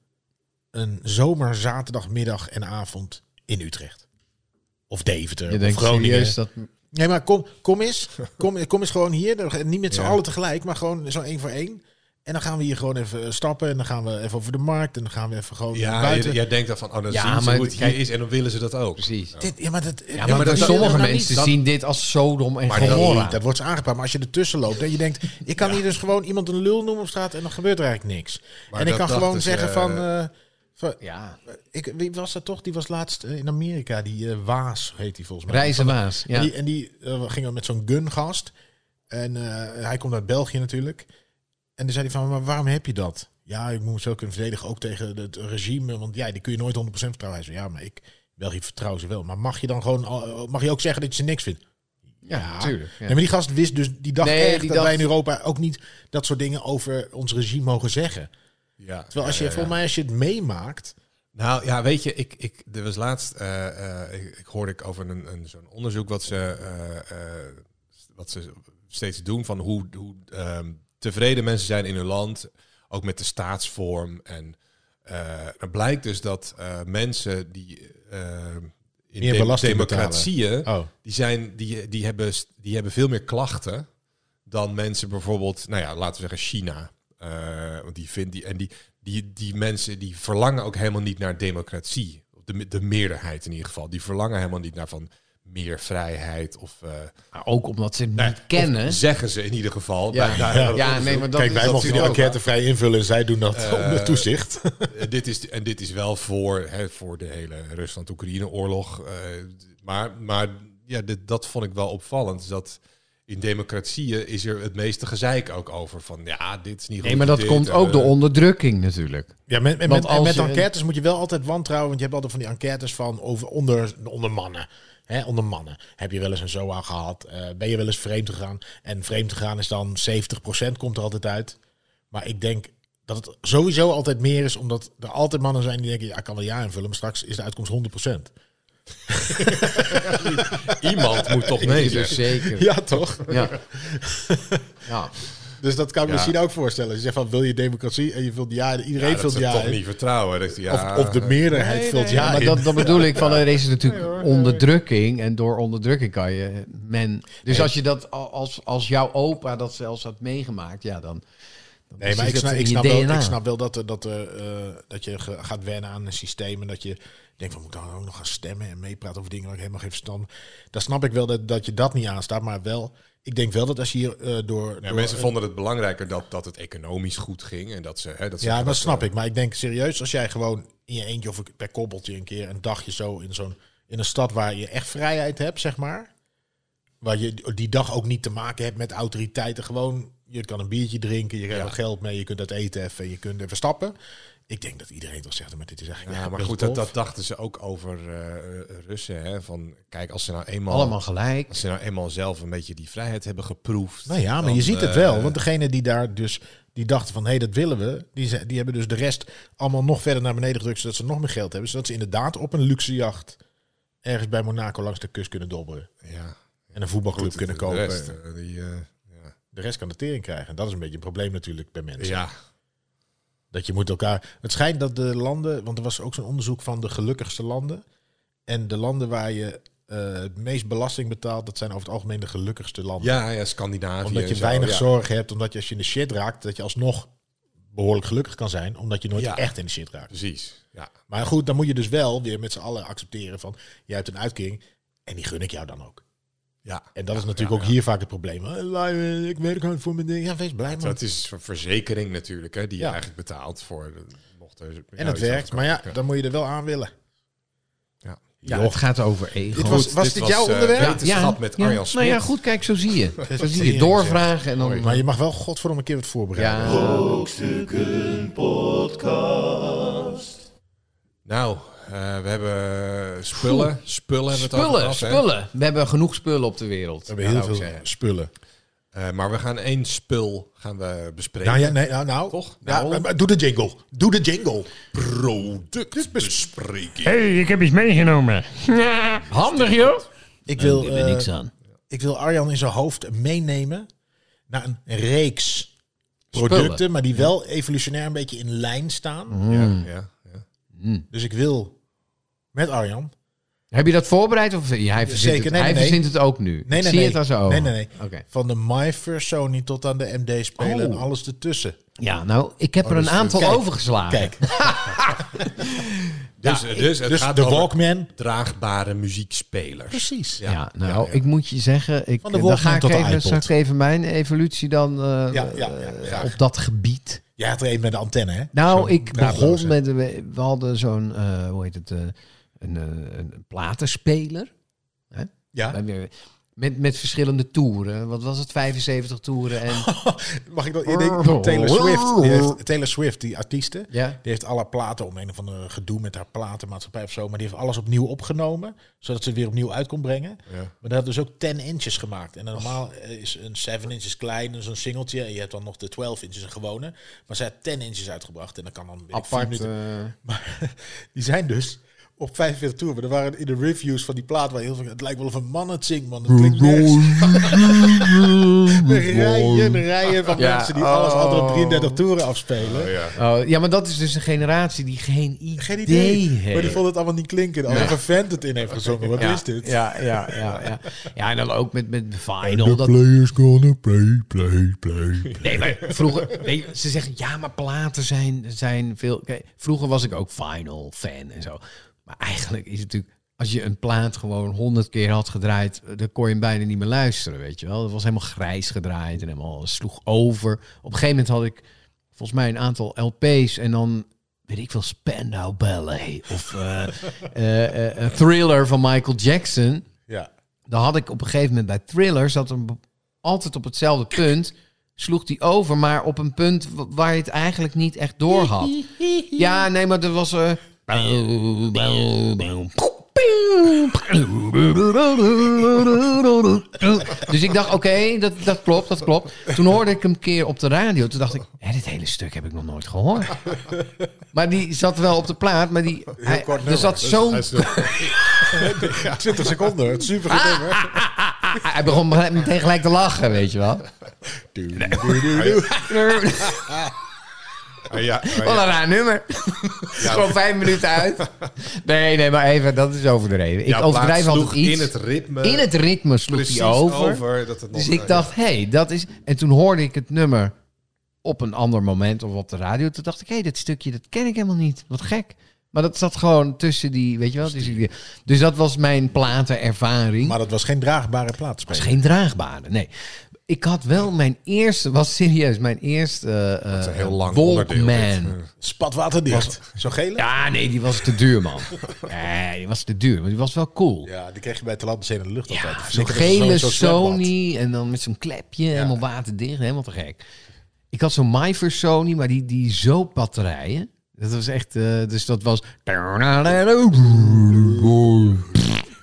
een zomer, zaterdagmiddag en avond in Utrecht. Of Deventer. Je of denkt Groningen. serieus dat... Nee, maar kom, kom eens. Kom, kom eens gewoon hier. Dan- Niet met z'n Ja. allen tegelijk, maar gewoon zo één voor één. En dan gaan we hier gewoon even eh, stappen. En dan gaan we even over de markt. En dan gaan we even gewoon Ja, Oh, buiten. jij, jij denkt dan van, oh, dan Ja, zien ze maar hoe het kijk- hier is en dan willen ze dat ook. Precies. Dit, ja, maar dat, Ja, maar, maar dat- dat- sommige dat- mensen dat- zien dit als Sodom en Maar dat- Gomorra. Nee, dat wordt ze aangepakt. Maar als je ertussen loopt en je denkt... ik kan hier dus gewoon iemand een lul noemen op straat... en dan gebeurt er eigenlijk niks. Maar en ik dat kan dachten gewoon ze, zeggen van... eh, eh, van ja, ik, wie was dat toch? Die was laatst eh, in Amerika. Die eh, Waas heet die volgens mij. Reizen Waas. En Ja. die, en die eh, ging met zo'n gungast. En eh, hij komt uit België natuurlijk. En dan zei hij van, maar waarom heb je dat? Ja, ik moet me zo kunnen verdedigen, ook tegen het regime. Want ja, die kun je nooit 100% vertrouwen. Hij zei, ja, maar ik, België vertrouw ze wel. Maar mag je dan gewoon, al- mag je ook zeggen dat je ze niks vindt? ja, natuurlijk. Ja. Nee, maar die gast wist dus, die dacht Nee, echt die dat dacht- wij in Europa ook niet dat soort dingen over ons regime mogen zeggen. Ja, Terwijl als je, ja, ja, ja. volgens mij, als je het meemaakt, Nou ja, weet je, ik, ik, er was laatst, eh, eh, ik, ik hoorde ik over een, een, zo'n onderzoek wat ze, eh, eh, wat ze steeds doen van hoe, hoe ehm, tevreden mensen zijn in hun land, ook met de staatsvorm. En eh dan blijkt dus dat eh, mensen die eh, in Meer de- belasting democratieën, Oh. die, zijn, die, die, hebben, st- die hebben veel meer klachten dan mensen bijvoorbeeld, nou ja, laten we zeggen China. Eh, want die vindt die, en die, die, die mensen die verlangen ook helemaal niet naar democratie. De, me- de meerderheid in ieder geval. Die verlangen helemaal niet naar van meer vrijheid of... eh, Maar ook omdat ze het nou, niet kennen. of zeggen ze in ieder geval. Ja. Bij- Ja, daar- nee, maar dat kijk, is wij mogen die natuurlijk ook waar. enquête vrij invullen en zij doen dat Eh, onder toezicht. Eh, dit is, en dit is wel voor, hè, voor de hele Rusland-Oekraïne-oorlog. eh, maar maar ja, dit, dat vond ik wel opvallend. Dat in democratieën is er het meeste gezeik ook over. Van ja, dit is niet goed. Nee, maar dat dit, komt en, ook eh, door onderdrukking natuurlijk. Ja, met, en Want met, en als met je- enquêtes moet je wel altijd wantrouwen. Want je hebt altijd van die enquêtes van over, onder, onder mannen. hè onder mannen. Heb je wel eens een zoa gehad? Eh, ben je wel eens vreemd gegaan? En vreemd gegaan is dan 70% komt er altijd uit. Maar ik denk dat het sowieso altijd meer is. Omdat er altijd mannen zijn die denken... Ja, ik kan wel ja invullen, maar straks is de uitkomst 100%. Iemand moet toch mee. zeggen. dus zeker. Ja, toch? Ja. ja. Dus dat kan ik Ja. me misschien ook voorstellen. Je zegt van, wil je democratie? En je vult ja. Iedereen Ja, dat vult ze ja. toch in. niet vertrouwen. Dat, ja, of, of de meerderheid vult ja. maar in. dat, dat bedoel ik, van er is natuurlijk onderdrukking en door onderdrukking kan je men... Dus als je dat, al- als, als jouw opa dat zelfs had meegemaakt, ja dan... dan Nee, zit maar ik Dus dat snap, in je ik, snap wel, DNA. ik snap wel dat, er- dat, er, eh, dat je ge- gaat wennen aan een systeem. En dat je denkt van moet ik dan ook nog gaan stemmen en meepraten over dingen waar ik helemaal geen verstand van- Daar snap ik wel dat, dat je dat niet aanstaat. Maar wel, ik denk wel dat als je hier eh, door. Ja, door- mensen vonden het belangrijker dat, dat het economisch goed ging. En dat ze, hè, dat ze ja, dat, snap ik. Maar ik denk serieus, als jij gewoon in je eentje of per koppeltje een keer een dagje zo in zo'n in een stad waar je echt vrijheid hebt, zeg maar. Waar je die dag ook niet te maken hebt met autoriteiten. Gewoon, je kan een biertje drinken, je krijgt Ja. wat geld mee, je kunt dat eten even, je kunt even stappen. Ik denk dat iedereen toch zegt, maar dit is eigenlijk Ja, maar goed, dat, dat dachten ze ook over eh, Russen. Hè? Van, kijk, als ze nou eenmaal... Allemaal gelijk. Als ze nou eenmaal zelf een beetje die vrijheid hebben geproefd. Nou ja, maar dan, je ziet het wel. eh, Want degene die daar dus die dachten van hé, dat willen we, die, ze- die hebben dus de rest allemaal nog verder naar beneden gedrukt, zodat ze nog meer geld hebben. Zodat ze inderdaad op een luxe jacht ergens bij Monaco langs de kust kunnen dobberen. ja, En een voetbalclub goed, kunnen de kopen. rest, eh, die, eh, ja. de rest kan de tering krijgen. En dat is een beetje een probleem natuurlijk bij mensen. ja, Dat je moet elkaar. Het schijnt dat de landen, want er was ook zo'n onderzoek van de gelukkigste landen. En de landen waar je eh, het meest belasting betaalt, dat zijn over het algemeen de gelukkigste landen. ja, ja, Scandinavië. Omdat en je zo, weinig ja. zorg hebt, omdat je als je in de shit raakt, dat je alsnog behoorlijk gelukkig kan zijn, omdat je nooit Ja. echt in de shit raakt. Precies, ja. Maar goed, dan moet je dus wel weer met z'n allen accepteren van, jij hebt een uitkering en die gun ik jou dan ook. ja. En dat Ja, is natuurlijk ja, ook ja. hier vaak het probleem. Eh, lui, eh, Ik werk hard voor mijn ding. Ja, wees blij man. Dat is een verzekering natuurlijk, hè, die Ja. je eigenlijk betaalt voor... de- mocht er, En het werkt, maar ja, dan moet je er wel aan willen. Ja. Ja, Joh. het gaat over ego. Dit was- dit jouw eh, onderwerp? Ja, wetenschap met Arjan Nou ja, Smit. goed, kijk, zo zie je. Zo zie je Tering, doorvragen en dan... Maar je mag wel godverdomme een keer wat ja, voorbereiden. Brokstukken Podcast. Nou, eh, we hebben eh, spullen. Spullen hebben we het over spullen, gehad, hè. spullen. We hebben genoeg spullen op de wereld. We hebben heel Nou, ik veel zei- spullen. Eh, maar we gaan één spul gaan we bespreken. Nou ja, nee, nou, nou. Toch? Ja, Nou. maar- maar doe de jingle. Doe de jingle. Productbespreking. Hé, hey, ik heb iets meegenomen. Handig, joh. Ik wil, Ik heb er eh, niks aan. ik wil Arjan in zijn hoofd meenemen naar een reeks producten, Spullen. Mhm. maar die wel evolutionair een beetje in lijn staan. Ja, ja, ja. Dus ik wil met Arjan. Heb je dat voorbereid? Of, ja, hij verzint, Zeker, het, nee, hij nee, nee. verzint het ook nu. Nee, nee, ik zie nee. het als zo. Nee, nee, nee. Oké. Van de My First Sony tot aan de MD spelen Oh. en alles ertussen. Ja, nou, ik heb er een dus, aantal kijk, overgeslagen. Kijk, Dus, dus het dus gaat de over Walkman. draagbare muziekspelers. Precies. Ja, Ja, nou, ja. ik moet je zeggen, ik, eh, Van de dan Walkman ga ik tot de even, iPod. straks even mijn evolutie dan eh, Ja, ja, ja, eh, graag. op dat gebied. Jij had er een met de antenne, hè? Nou, Zo'n ik draadloze. begon met, we, we hadden zo'n, eh, hoe heet het, eh, een, eh, een platenspeler. Ja. Met, met verschillende toeren. Wat was het? 75 toeren. En, Mag ik dat? Ik Oh. denk, Taylor Swift. Die heeft, Taylor Swift, die artieste. ja. Die heeft alle platen om een of andere gedoe met haar platenmaatschappij of zo. Maar die heeft alles opnieuw opgenomen. Zodat ze het weer opnieuw uit kon brengen. Ja. Maar dat had dus ook 10 inches gemaakt. En normaal eh, is een 7 inches klein, en zo'n singeltje. En je hebt dan nog de 12 inches, een gewone. Maar zij had 10 inches uitgebracht. En dan kan dan weet ik, vier Apart. minuten. eh, Maar die zijn dus op 45 toeren. Er waren in de reviews van die plaat waar heel veel... Het lijkt wel of een man het zingt, man. Het klinkt nergens. rijen, rijen van Ja, mensen die alles oh. andere 33 toeren afspelen. oh, ja, maar dat is dus een generatie die geen idee, Geen idee. Maar die heeft. vond het allemaal niet klinken. Alsof Nee. een vent het in heeft gezongen. Wat ja, is dit? Ja, ja, ja, ja. ja, en dan ook met, met Vinyl. Dat, Players gonna play, play, play. nee, maar vroeger... Nee, ze zeggen, ja, maar platen zijn, zijn veel... Kijk, vroeger was ik ook Vinyl-fan en zo. Maar eigenlijk is het natuurlijk... Als je een plaat gewoon honderd keer had gedraaid... eh, dan kon je hem bijna niet meer luisteren, weet je wel. Dat was helemaal grijs gedraaid en helemaal sloeg over. Op een gegeven moment had ik volgens mij een aantal LP's en dan weet ik veel Spandau Ballet of eh, eh, eh, een Thriller van Michael Jackson. Ja. Dan had ik op een gegeven moment bij thrillers dat er altijd op hetzelfde punt sloeg die over, maar op een punt wa- waar je het eigenlijk niet echt door had. Ja, nee, maar er was. eh, Dus ik dacht, oké, dat, dat klopt, dat klopt. Toen hoorde ik hem een keer op de radio. Toen dacht ik, hè, dit hele stuk heb ik nog nooit gehoord. Maar die zat wel op de plaat, maar die, hij, kort er nummer. dus zat zo'n 20 seconden. Het is super goed nummer. Ah, hij begon gelijk- meteen gelijk te lachen, weet je wel. Wat Ah, ja, ah, ja. een raar nummer. Gewoon vijf minuten uit. Nee, nee, maar even, dat is overdreven. Ik Jouw overdrijf plaat altijd sloeg In iets. het ritme. In het ritme sloeg precies hij over. dat het nog, eh, Dus ik dacht, hé, hey, dat is... En toen hoorde ik het nummer op een ander moment of op de radio. Toen dacht ik, hé, hey, dit stukje, dat ken ik helemaal niet. Wat gek. Maar dat zat gewoon tussen die, weet je wel. tussen die- Dus dat was mijn platenervaring. Maar dat was geen draagbare was plaatspeler. geen draagbare, nee. Ik had wel mijn eerste, was serieus, mijn eerste eh, is een eh, heel lang onderdeel, Walkman. dit. Spatwaterdicht. Zo gele? Ja. Ja, nee, die was te duur, man. Nee, die was te duur, maar die was wel cool. Ja, die kreeg je bij het land in de lucht altijd. zo'n Zeker gele zo'n- zo'n zwembad. Sony en dan met zo'n klepje, helemaal waterdicht, helemaal te gek. Ik had zo'n My First Sony, maar die, die zoopbatterijen. Dat was echt, eh, dus dat was...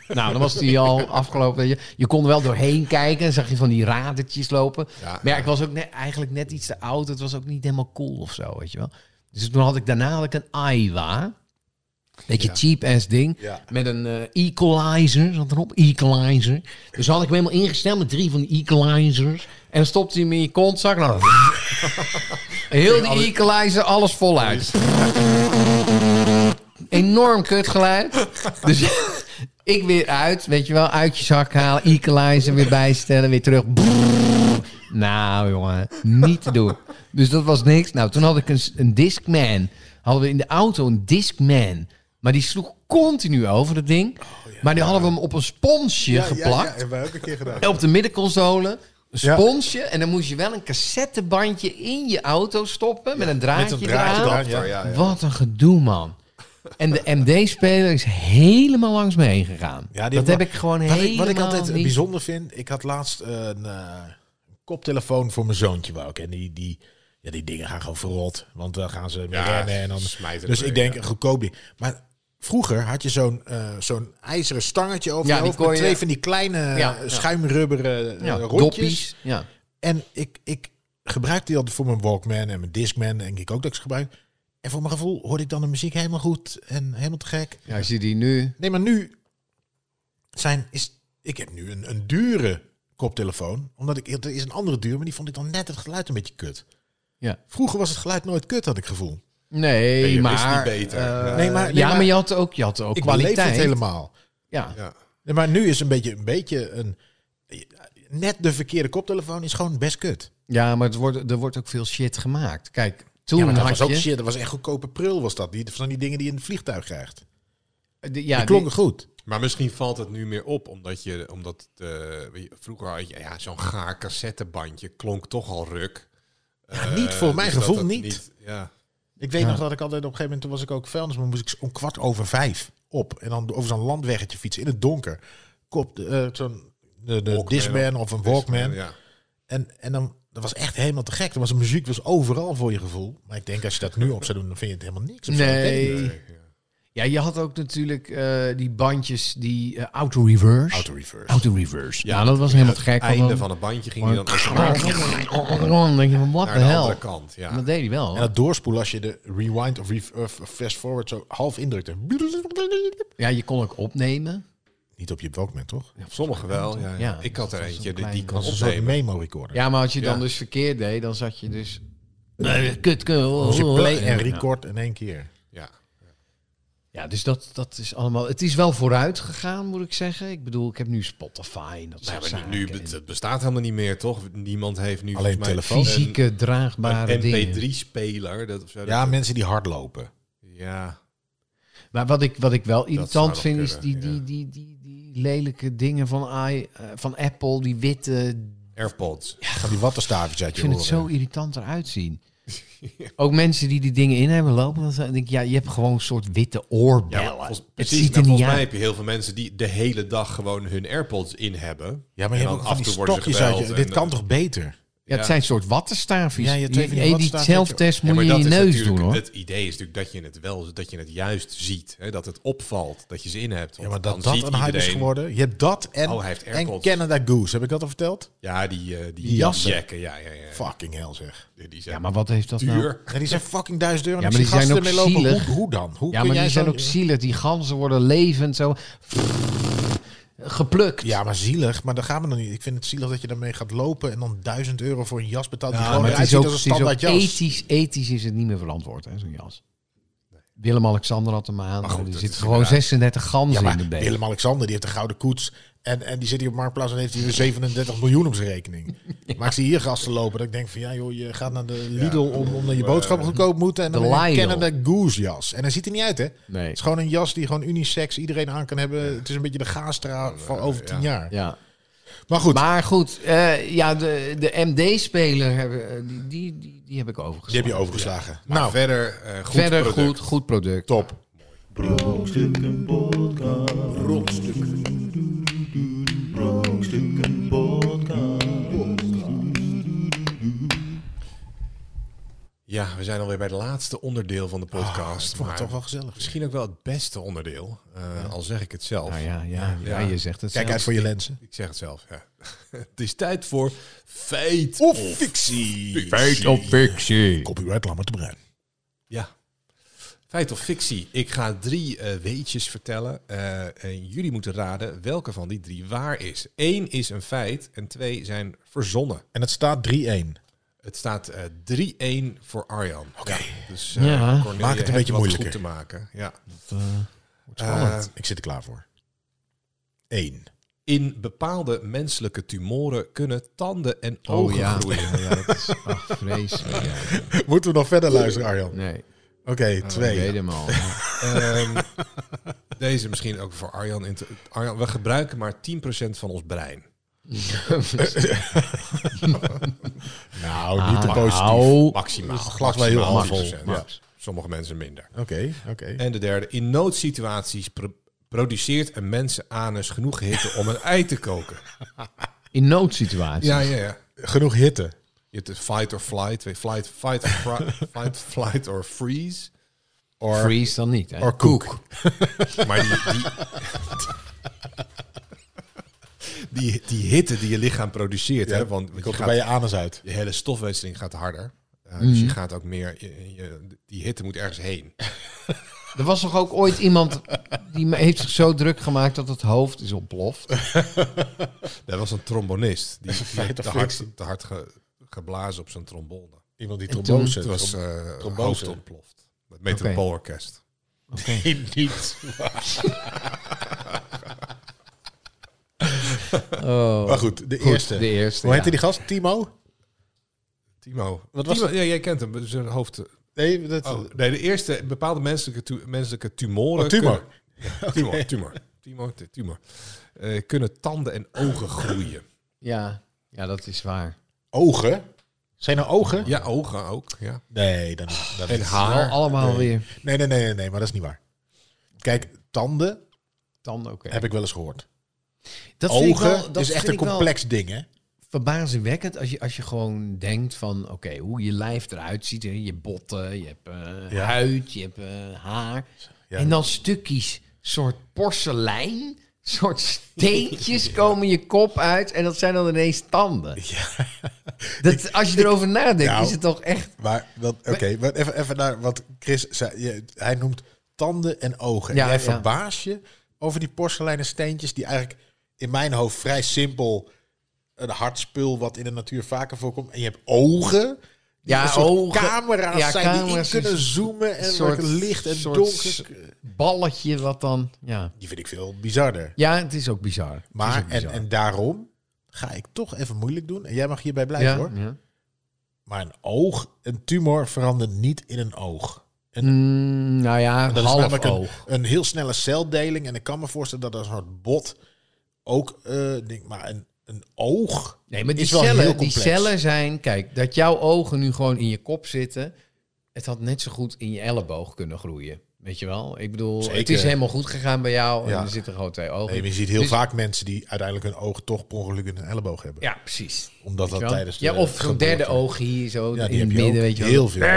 Nou, dan was die al afgelopen. weet Je, je kon er wel doorheen kijken. Zag je van die radertjes lopen. Ja, Maar ja, ik was ook net, eigenlijk net iets te oud. Het was ook niet helemaal cool of zo, weet je wel. Dus toen had ik daarna had ik een AIWA. Beetje Ja. cheap ass ding. Ja. Met een eh, equalizer, zat erop, equalizer. Dus had ik hem helemaal ingesteld met drie van die equalizers. En dan stopte hij hem in je kontzak. Nou, heel die equalizer, alles voluit. Enorm kutgeluid. Dus ik weer uit, weet je wel, uit je zak halen, equalizer weer bijstellen, weer terug. Nou, jongen, niet te doen. Dus dat was niks. Nou, toen had ik een, een Discman. Hadden we in de auto een Discman. Maar die sloeg continu over dat ding. Maar die hadden we hem op een sponsje geplakt. hebben wij ook een keer gedaan. En Op de middenconsole. Een Ja. sponsje. En dan moest je wel een cassettebandje in je auto stoppen. met een draadje, Met een draadje eraan. eraan, ja. ja, ja. Wat een gedoe, man. En de MD-speler is helemaal langs me heen gegaan. Ja, die dat hebben- heb ik gewoon Wat helemaal ik, wat ik altijd eh, niet- bijzonder vind, ik had laatst een eh, koptelefoon voor mijn zoontje wou ik. En die, die, ja, die dingen gaan gewoon verrot. Want dan gaan ze mee rennen en dan... smijten Dus erbij, ik denk, ja. een goedkoop ding. Maar vroeger had je zo'n eh, zo'n ijzeren stangetje over Ja, je die hoofd kon met je- twee van die kleine Ja, eh, ja. schuimrubberen eh, ja, rondjes. doppies. Ja. En ik, ik gebruikte die altijd voor mijn Walkman en mijn Discman. En ik ook dat ik ze gebruik. En voor mijn gevoel hoorde ik dan de muziek helemaal goed en helemaal te gek. ja, als je die nu... Nee, maar nu zijn is. Ik heb nu een, een dure koptelefoon. Omdat ik. Er is een andere duur, maar die vond ik dan net het geluid een beetje kut. Ja. Vroeger was het geluid nooit kut, had ik het gevoel. Nee, is maar... niet beter. eh, Nee. Nee, maar, nee, ja, maar je had ook, je had ook ik beleef kwaliteit. het helemaal. Ja. ja. Nee, maar nu is een beetje, een beetje een. Net de verkeerde koptelefoon is gewoon best kut. ja, maar het wordt, er wordt ook veel shit gemaakt. Kijk, toen Ja, maar dat had was ook je... shit. Dat was echt goedkope prul, was dat? Die, van die dingen die je in het vliegtuig krijgt. de- ja, die klonken die- goed. Maar misschien valt het nu meer op, omdat je, omdat eh, weet je, vroeger had je ja, zo'n gaar cassettebandje, klonk toch al ruk. Ja, Eh, niet, voor mijn dat gevoel het niet. ja. Ik weet nog dat ik altijd op een gegeven moment, toen was ik ook vuilnis, maar moest ik om kwart over vijf op. En dan over zo'n landweggetje fietsen in het donker. Kop, eh, zo'n de, de Walkman Discman of een Walkman. dus, eh, Ja. En, en dan, dat was echt helemaal te gek. Dan was de muziek was overal voor je gevoel. Maar ik denk, als je dat nu op zou doen, dan vind je het helemaal niks. Of zo. Nee. Ik weet het niet. Ja, je had ook natuurlijk eh, die bandjes, die eh, auto-reverse. Auto reverse. Auto-reverse. Ja, dat was helemaal te gek. Het einde van het bandje ging je dan ook Dan denk je van, wat de naar de andere hel. kant. Ja. Dat deed hij wel. En dat doorspoelen als je de rewind of, ref- of fast forward zo half indrukte. Ja, je kon ook opnemen. Niet op je Walkman, toch? Sommige wel. Ja. Ja, ik had er dat was eentje, een die, die klein- kon Als een soort opnemen. memo recorder. Ja, maar als je dan Ja. dus verkeerd deed, dan zat je dus... Nee, Kut, kut. oh, Dus je play en Ja. record in één keer. Ja. Ja, dus dat, dat is allemaal... Het is wel vooruit gegaan, moet ik zeggen. Ik bedoel, ik heb nu Spotify en dat Nou, soort maar nu, zaken. nu- dat bestaat helemaal niet meer, toch? Niemand heeft nu Alleen volgens mij telefoon. Fysieke, draagbare een dingen. MP3-speler. Dat, of zo, Ja, dat- mensen die hardlopen. ja. Maar wat ik, wat ik wel zou irritant nog vind, is die, kunnen, die, ja. die, die, die lelijke dingen van, i, eh, van Apple, die witte. AirPods. Van die wattenstaafjes uit Ik je vind het oren. zo irritant eruit zien. Ook mensen die die dingen in hebben lopen, dan denk ik, ja, je hebt gewoon een soort witte Ja, maar oorbellen. volgens- het precies. ziet er nou, niet volgens mij uit. heb je heel veel mensen die de hele dag gewoon hun AirPods in hebben. Ja, maar je En hebt dan ook van die af en toe worden ze stokjes uit je. gebeld Dit en, kan eh, toch beter? Ja, het ja. zijn een soort wattenstaafjes. Ja, je je hebt twee van die die wattenstaafjes dat je- zelftest Ja, moet je in je dat is neus natuurlijk- doen, hoor. Het idee is natuurlijk dat je het wel, dat je het juist ziet. Hè? Dat het opvalt, dat je ze in hebt. Ja, Want maar dan dat dat ziet een hype is iedereen- geworden. Je hebt dat en, Oh, hij heeft en AirPods. Canada Goose. Heb ik dat al verteld? Ja, die, eh die Die jassen. jacken, ja, ja, ja. Fucking hell zeg. Die- Die zijn Ja, maar wat heeft dat nou? duur. Ja, die zijn fucking duizend euro. Ja, en maar als die zijn gasten ook ermee lopen, zielig. Hoe, hoe dan? Hoe Ja, kun maar jij die zijn zo- ook zielig. Die ganzen worden levend zo geplukt. Ja, maar zielig. Maar daar gaan we nog niet. Ik vind het zielig dat je daarmee gaat lopen en dan duizend euro voor een jas betaalt. die Ja, gewoon maar het eruit is ziet ook, als een het is ook standaard jas. ethisch, ethisch is het niet meer verantwoord, hè, zo'n jas. Willem-Alexander had hem aan. Maar goed, er dat zitten is gewoon inderdaad- 36 Ja, ganzen in de maar been. Willem-Alexander, die heeft een gouden koets. En, en die zit hier op Marktplaats en heeft hier 37 miljoen op zijn rekening. Maar ik zie hier gasten lopen. Dat ik denk van, ja joh, je gaat naar de Lidl om, om je boodschappen goedkoop moeten. En dan De een Lidl. Canada Goose jas. En hij ziet er niet uit, hè? Nee. Het is gewoon een jas die gewoon unisex iedereen aan kan hebben. Het is een beetje de gaastra van over tien jaar. Ja. Maar goed, Maar goed, eh, ja, de, de MD-speler hebben, eh, die, die, die, die heb ik die heb overgeslagen. je overgeslagen. Maar nou, verder eh, goed Verder product. goed, goed product. top. Brokstukken podcast. Brokstukken. Brokstukken podcast. Ja, we zijn alweer bij het laatste onderdeel van de Ik podcast. vond maar Oh, het toch wel gezellig. Misschien ook wel het beste onderdeel, eh, al zeg ik het zelf. Nou ja, ja, Ja. ja, je zegt het Kijk zelf. uit voor je lenzen. Ik zeg het zelf, ja. het is tijd voor feit Of fictie. Feit of Oh, fictie. Copyright Lammer te Bruin. Ja. Feit of fictie? Ik ga drie eh, weetjes vertellen. eh, en jullie moeten raden welke van die drie waar is. Eén is een feit en twee zijn verzonnen. En het staat 3-1. Het staat eh, 3-1 voor Arjan. Oké. dus Ja. Maak Cornelia het een heeft beetje wat moeilijker. goed te maken. Ja. Dat, eh, Spannend. Ik zit er klaar voor. 1. in bepaalde menselijke tumoren kunnen tanden en ogen oh ja. groeien. ja, ja, dat is ach, vreselijk. ja. Moeten we nog verder luisteren, Arjan? Nee, Oké, oh, ik weet 2. hem al. Ehm, deze misschien ook voor Arjan. Inter- Arjan. We gebruiken maar 10% van ons brein. Nou, Ah, niet te positief. Au. Maximaal. Dus het glas wel heel Maximaal half vol. 10%. Ja. Ja. Sommige mensen minder. Oké, oké. En de derde, in noodsituaties pro- produceert een mensenanus genoeg hitte om een ei te koken. In noodsituaties. Ja, ja, ja. Genoeg hitte. Je hebt de fight or flight, weet je, flight, fight, or fri- fight, flight or freeze. Or, Freeze dan niet. Hè? or cook. Maar die, die, die, die hitte die je lichaam produceert, Ja, hè, want want je, Komt er gaat, bij je... je anus uit. hele stofwisseling gaat harder. Uh, Dus je gaat ook meer, je- je- die hitte moet ergens heen. Er was toch ook ooit iemand die me- heeft zich zo druk gemaakt dat het hoofd is ontploft. Dat was een trombonist. Die werd te of hard, fictie. te hard ge- geblazen op zijn trombone. Iemand die En trombose toen- Het was eh trombose. hoofd ontploft. Het metropoolorkest. niet. Oh. Maar goed, de Goed, eerste. De eerste. Hoe heette ja. die gast? Timo? Timo. Wat was Timo, ja, jij kent hem. Zijn hoofd. Nee, dat... Oh, nee, de eerste bepaalde menselijke, tu- menselijke tumoren. Oh, tumor. kunnen- Ja, tumor, tumor. Tumor, tu- tumor. Eh, kunnen tanden en ogen groeien. Ja. ja, dat is waar. Ogen? Zijn er ogen? Ja, ogen ook. Ja. Nee, dan niet. Dan En niet. haar. Oh, Al, allemaal nee. weer. Nee, nee, nee, nee, nee, maar dat is niet waar. Kijk, tanden Tanden, oké. heb ik wel eens gehoord. Dat vind ik Ogen wel- dat is echt vind een ik wel complex ding, hè? Verbazingwekkend als je, als je gewoon denkt van, oké, hoe je lijf eruit ziet. hè. Je botten, je hebt eh, Ja. huid, je hebt eh, haar. Ja. En dan stukjes, soort porselein, soort steentjes komen je kop uit. En dat zijn dan ineens tanden. Dat, als je erover nadenkt, nou, is het toch echt... Maar dat, oké, maar even, even naar wat Chris zei. Je- hij noemt tanden en ogen. Ja, en jij ja. verbaas je over die porseleinen steentjes die eigenlijk in mijn hoofd vrij simpel een hard spul wat in de natuur vaker voorkomt. En je hebt ogen. die Ja, een soort ogen. camera's Ja, zijn die in camera's kunnen is zoomen en soort- soort, licht en soort s- donker. balletje wat dan. Ja, Die vind ik veel bizarder. ja het is ook bizar. Het is Maar, ook en, bizar. en daarom ga ik toch even moeilijk doen. En jij mag hierbij blijven ja, hoor. ja. Maar een oog, een tumor verandert niet in een oog. Een Mm, nou ja, Dat is half namelijk een, oog. een heel snelle celdeling. En ik kan me voorstellen dat een soort bot ook... eh ding, maar een, een oog Nee, maar die is wel heel cellen, die complex. cellen zijn... Kijk, dat jouw ogen nu gewoon in je kop zitten... Het had net zo goed in je elleboog kunnen groeien. Weet je wel? Ik bedoel, het Zeker. is helemaal goed gegaan bij jou. Ja. En er zitten gewoon twee ogen. Nee, maar je ziet heel Dus- vaak mensen die uiteindelijk hun oog toch per ongeluk in hun elleboog hebben. Ja, precies. Omdat dat Weet je wel? tijdens de ja, of zo'n geboorte- derde oog hier zo Ja, die in heb het je midden, ook weet je wel. heel veel. Je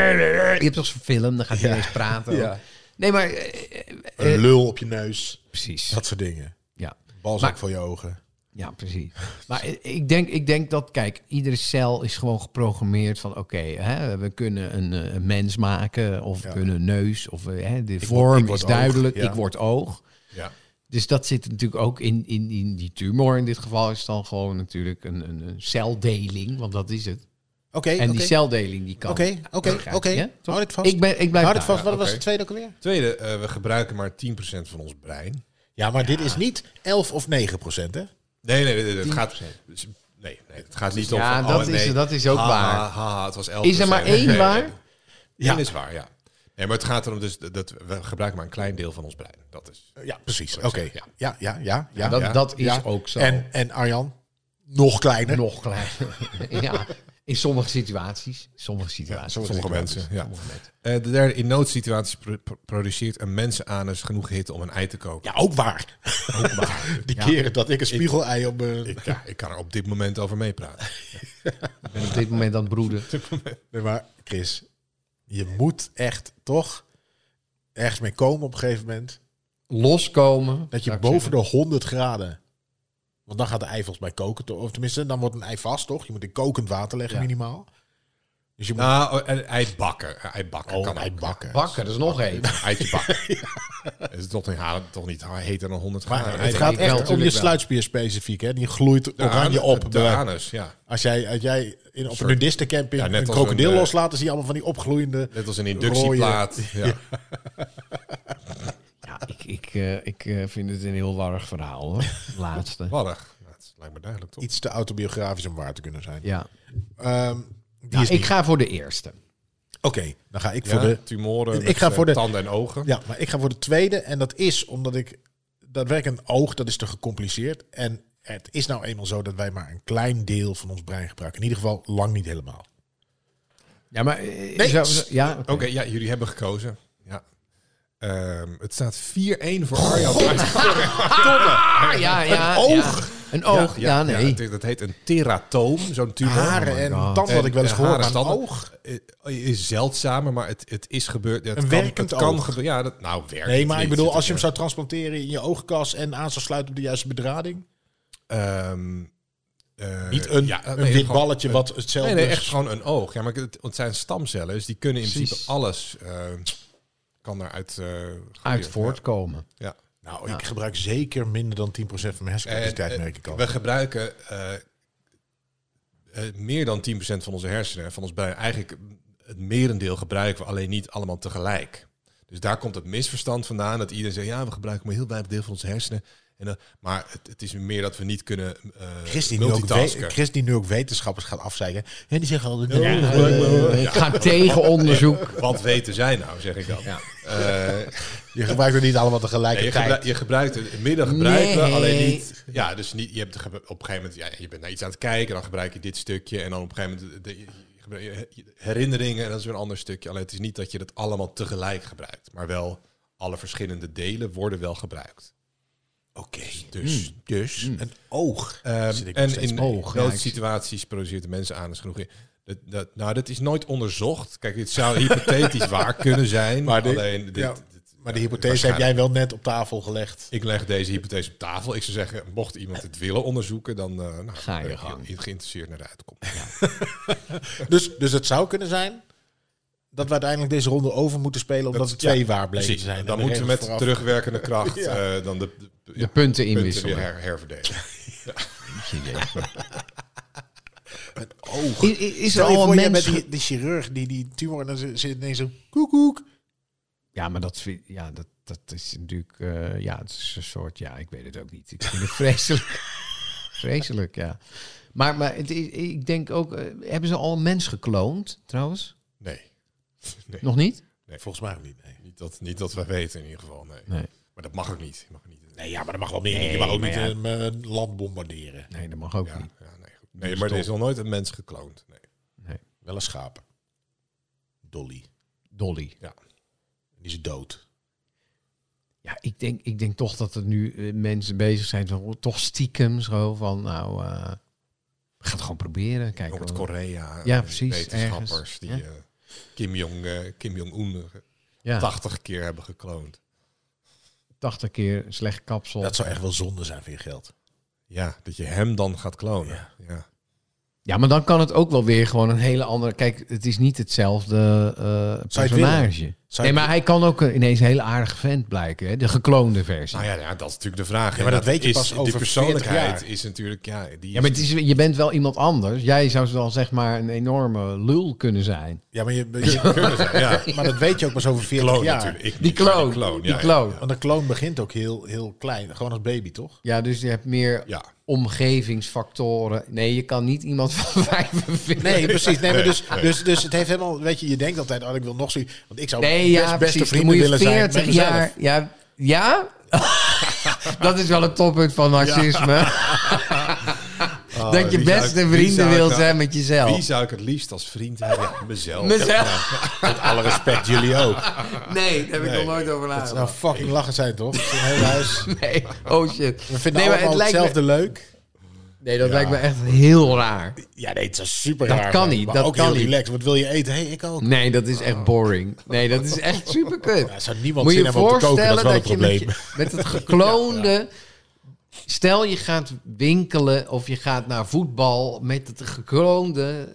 hebt toch zo'n film, dan gaat hij eens praten. Ja. ook. Nee, maar... eh, eh, eh, Een lul op je neus. precies. Dat soort dingen. Ja. Balzak Maar- voor je ogen. Ja, precies. Maar i- ik denk, ik denk dat, kijk, iedere cel is gewoon geprogrammeerd van... oké, hè, we kunnen een, eh, een mens maken of we Ja. kunnen een neus. Of, eh, hè, de vorm ik word is oog, duidelijk, ja. ik word oog. Ja. Dus dat zit natuurlijk ook in, in, in die tumor. In dit geval is het dan gewoon natuurlijk een, een, een celdeling, want dat is het. Oké, En die oké. celdeling die kan... Oké, oké, Ja, oké. ja, toch? Houd ik vast. Ik, ben, ik blijf Houd ik daar. vast. Wat Nou, was oké. de tweede ook alweer? Tweede, eh, we gebruiken maar 10% van ons brein. Ja, maar dit is niet 11 of 9 procent, hè? Nee, nee, nee, nee, het gaat... dus- Nee, nee, het gaat niet om... Ja, van, dat oh, is- nee, dat is ook ha, waar. Ha, ha, het was 11%. Is er maar één Nee, waar? nee, Ja. Eén is waar, ja. Nee, maar het gaat erom dus dat- dat we gebruiken maar een klein deel van ons brein. Dat is... Ja, precies. Oké. Zou ik Ja, zeggen, ja, ja. ja, dat, Ja. dat is Ja. ook zo. En, en Arjan, nog kleiner. Nog kleiner. ja, in sommige situaties. Sommige situaties. Sommige mensen, ja. Sommige mensen. Eh, de derde, in noodsituaties pro- pro- produceert een mensenanus genoeg hitte om een ei te koken. Ja, ook waar. Die Ja. keren dat ik een spiegelei op... eh, Ik, ja, ik kan er op dit moment over meepraten. Ik ben op dit moment aan het broeden. nee, maar Chris, Je moet echt toch ergens mee komen op een gegeven moment. Loskomen. Dat je Zou ik boven zeggen. de 100 graden. Want dan gaat de ei volgens mij koken. toch? Of tenminste, dan wordt een ei vast, toch? Je moet in kokend water leggen, Ja. minimaal. Dus je moet Nou, en ei bakken. Eh, Ei bakken Nou, Oh, kan ei ook. bakken. Bakken, dat is nog één. Eitje bakken. Is het toch niet, haar- toch niet heter dan 100 graden? Maar Ei het gaat bakken. wel, echt om je natuurlijk wel. Nou, sluitspier specifiek. Hè? Die gloeit De oranje anus- op. De Bij- anus, ja. Als jij, als jij in, op een Soort- nudistencamping Ja, net een als krokodil een, eh, loslaat... dan zie je allemaal van die opgloeiende... Net als een inductieplaat. Ja. Ja, ik, ik, eh, ik eh, vind het een heel warrig verhaal hoor. Laatste. Warrig. Nou, dat lijkt me duidelijk toch? iets te autobiografisch om waar te kunnen zijn. Ja. Ehm, die Ja, is ik niet. ga voor de eerste. Oké, dan ga ik Ja, voor de... tumoren. Ik met, ga eh, voor de- tanden en ogen. Ja, maar ik ga voor de tweede. En dat is omdat ik... Daadwerkelijk een oog, dat is te gecompliceerd. En het is nou eenmaal zo dat wij maar een klein deel van ons brein gebruiken. In ieder geval lang niet Ah, helemaal. Ja, maar. eh, Nee, zo- s- ja, Oké, ja, jullie hebben gekozen. Ja. Ehm, het staat 4-1 voor Arjan. Ah, ja, ja, Een ja. oog. Een oog, ja, nee. het- dat heet een teratoom, zo'n tumor. Haren Oh my en God. tanden had ik wel eens En gehoord. haren, Maar een tanden, oog? eh, is zeldzamer, maar het, het is gebeurd. Het Een kan, werkend het kan oog. gebeuren. Ja, dat, nou, werkt Nee, maar niet. ik bedoel, Het- als je hem zou transplanteren in je oogkas... en aan zou sluiten op de juiste bedrading... Ehm, eh, Niet een, ja, een nee, wit gewoon- balletje wat hetzelfde Nee, nee, echt is. gewoon een oog. Ja, maar het, het zijn stamcellen, dus die kunnen in Precies. principe alles... eh, kan daaruit eh, groeien. Uit Ja. voortkomen. Ja. Nou, ik gebruik zeker minder dan 10% van mijn hersencapaciteit, Eh, eh, merk ik al. We gebruiken eh, eh, meer dan 10% van onze hersenen, van ons brein. Eigenlijk het merendeel gebruiken we alleen niet allemaal tegelijk. Dus daar komt het misverstand vandaan dat iedereen zegt, ja, we gebruiken maar een heel weinig deel van onze hersenen. En, dat- maar het, het is meer dat we niet kunnen eh Chris die, nu ook multitasken. we- Chris die nu ook wetenschappers gaat afzeiken. En die zeggen al... Ja, Eh, ik ga tegen onderzoek. Wat weten zij nou, zeg ik dan. Eh, Je gebruikt het niet allemaal Nee, je, tegelijkertijd. gebruikt, je gebruikt het midden gebruiken, Nee. alleen niet. Ja, dus niet, je hebt de ge- op een gegeven moment, ja, je bent naar iets aan het kijken, dan gebruik je dit stukje en dan op een gegeven moment de, je gebruikt je herinneringen en dat is weer een ander stukje. Alleen het is niet dat je dat allemaal tegelijk gebruikt, maar wel alle verschillende delen worden wel gebruikt. Oké, Dus, dus. een oog. Ehm, Zit ik nog en steeds in mee. noodsituaties produceert de mensen aan is genoeg. Dat, dat, nou, dat is nooit onderzocht. Kijk, dit zou hypothetisch waar kunnen zijn, Maar maar de- alleen dit, ja, dit- maar de ja, hypothese heb jij wel net op tafel gelegd. ik leg deze hypothese op tafel. Ik zou zeggen, mocht iemand het willen onderzoeken, dan eh, nou, Ga je ben ik gang. ge- geïnteresseerd naar de uitkomst. Dus, dus het zou kunnen zijn dat we uiteindelijk deze ronde over moeten spelen... omdat Dat- er twee ja, waar bleken te Precies. zijn. En Dan de moeten we met regels vooraf- terugwerkende kracht eh, dan de, de, ja, De punten punten weer inwisselen. her- herverdelen. Oh, I- i- Is er Stel je al voor, een jij mens... bent die, die chirurg die die tumor... en dan zit zit ineens zo... koek, koek. Ja, maar dat, vind, ja, dat, dat is natuurlijk... eh, ja, het is een soort... Ja, ik weet het ook niet. Ik vind het vreselijk. vreselijk, ja. Maar, maar het is, ik denk ook... eh, hebben ze al een mens gekloond, trouwens? Nee. nee. Nog niet? Nee, volgens mij ook niet, nee. Niet, dat, niet dat we weten in ieder geval. Nee. Nee. Maar dat mag ook niet. Je mag niet Nee, ja, maar dat mag wel meer. je Nee, mag ook maar niet ja. een eh, land bombarderen. Nee, dat mag ook ja, niet. ja, nee, goed. nee maar er is nog nooit een mens gekloond. Nee. Wel een schapen. Dolly. Dolly. Die is dood. Ja, ik denk, ik denk toch dat er nu eh, mensen bezig zijn van oh, toch stiekem zo van nou, eh ga het gewoon proberen. Kijken. wat- Noord-Korea. Ja, eh, precies, Wetenschappers ergens. die Ja. eh, Kim Jong, eh, Kim Jong-un eh, ja, 80 keer hebben gekloond. 80 keer slecht kapsel. Dat zou echt wel zonde zijn voor je geld. Ja, dat je hem dan gaat klonen. Ja. ja. Ja, maar dan kan het ook wel weer gewoon een hele andere. Kijk, het is niet hetzelfde eh, personage. nee, Zou je- maar hij kan ook eh, ineens een hele aardige vent blijken, hè? de gekloonde versie. Nou ja, ja, dat is natuurlijk de vraag. Ja, maar dat weet je is, pas over Die persoonlijkheid 40 is natuurlijk... Ja, die ja, maar het is, je bent wel iemand anders. Jij zou dan zeg maar een enorme lul kunnen zijn. Ja, maar, je, je- ja, maar dat weet je ook pas over 40 kloon jaar. natuurlijk. Ik Die niet, maar kloon. ja, Die ja, kloon. ja. Want een kloon begint ook heel, heel klein. Gewoon als baby, toch? Ja, dus je hebt meer Ja. omgevingsfactoren. Nee, je kan niet iemand van 45. Nee, precies. Nee, maar dus, nee. dus, dus het heeft helemaal... Weet je, je denkt altijd, oh, ik wil nog zoiets. Want ik zou Nee, best ja, beste precies. Dan vrienden moet je willen zijn met 40 mezelf. jaar. Ja, ja? dat is wel het toppunt van narcisme. Oh, dat je wie zou- beste wie vrienden zou wilt dat- zijn met Wie jezelf. zou ik het liefst als vriend hebben? Mezelf. Mezelf? Met alle respect, jullie ook. Nee, daar heb ik Nee. nog nooit over nagedacht. Nou, fucking lachen zijn, toch? Het hele huis. Nee, oh shit. We vinden nee, maar allemaal lijkt me- hetzelfde leuk. Nee, dat lijkt me echt heel raar. Ja, nee, het is super Dat raar. kan maar- niet, maar dat ook kan heel niet. relaxed. Wat wil je eten? Hé, hey, ik ook. Nee, dat is echt boring. Nee, dat is echt super kut. Oh. Ja, zou niemand Moet zin je hebben om te koken, dat voorstellen is wel dat een je met, probleem. je met het gekloonde... Stel je gaat winkelen of je gaat naar voetbal met het gekloonde...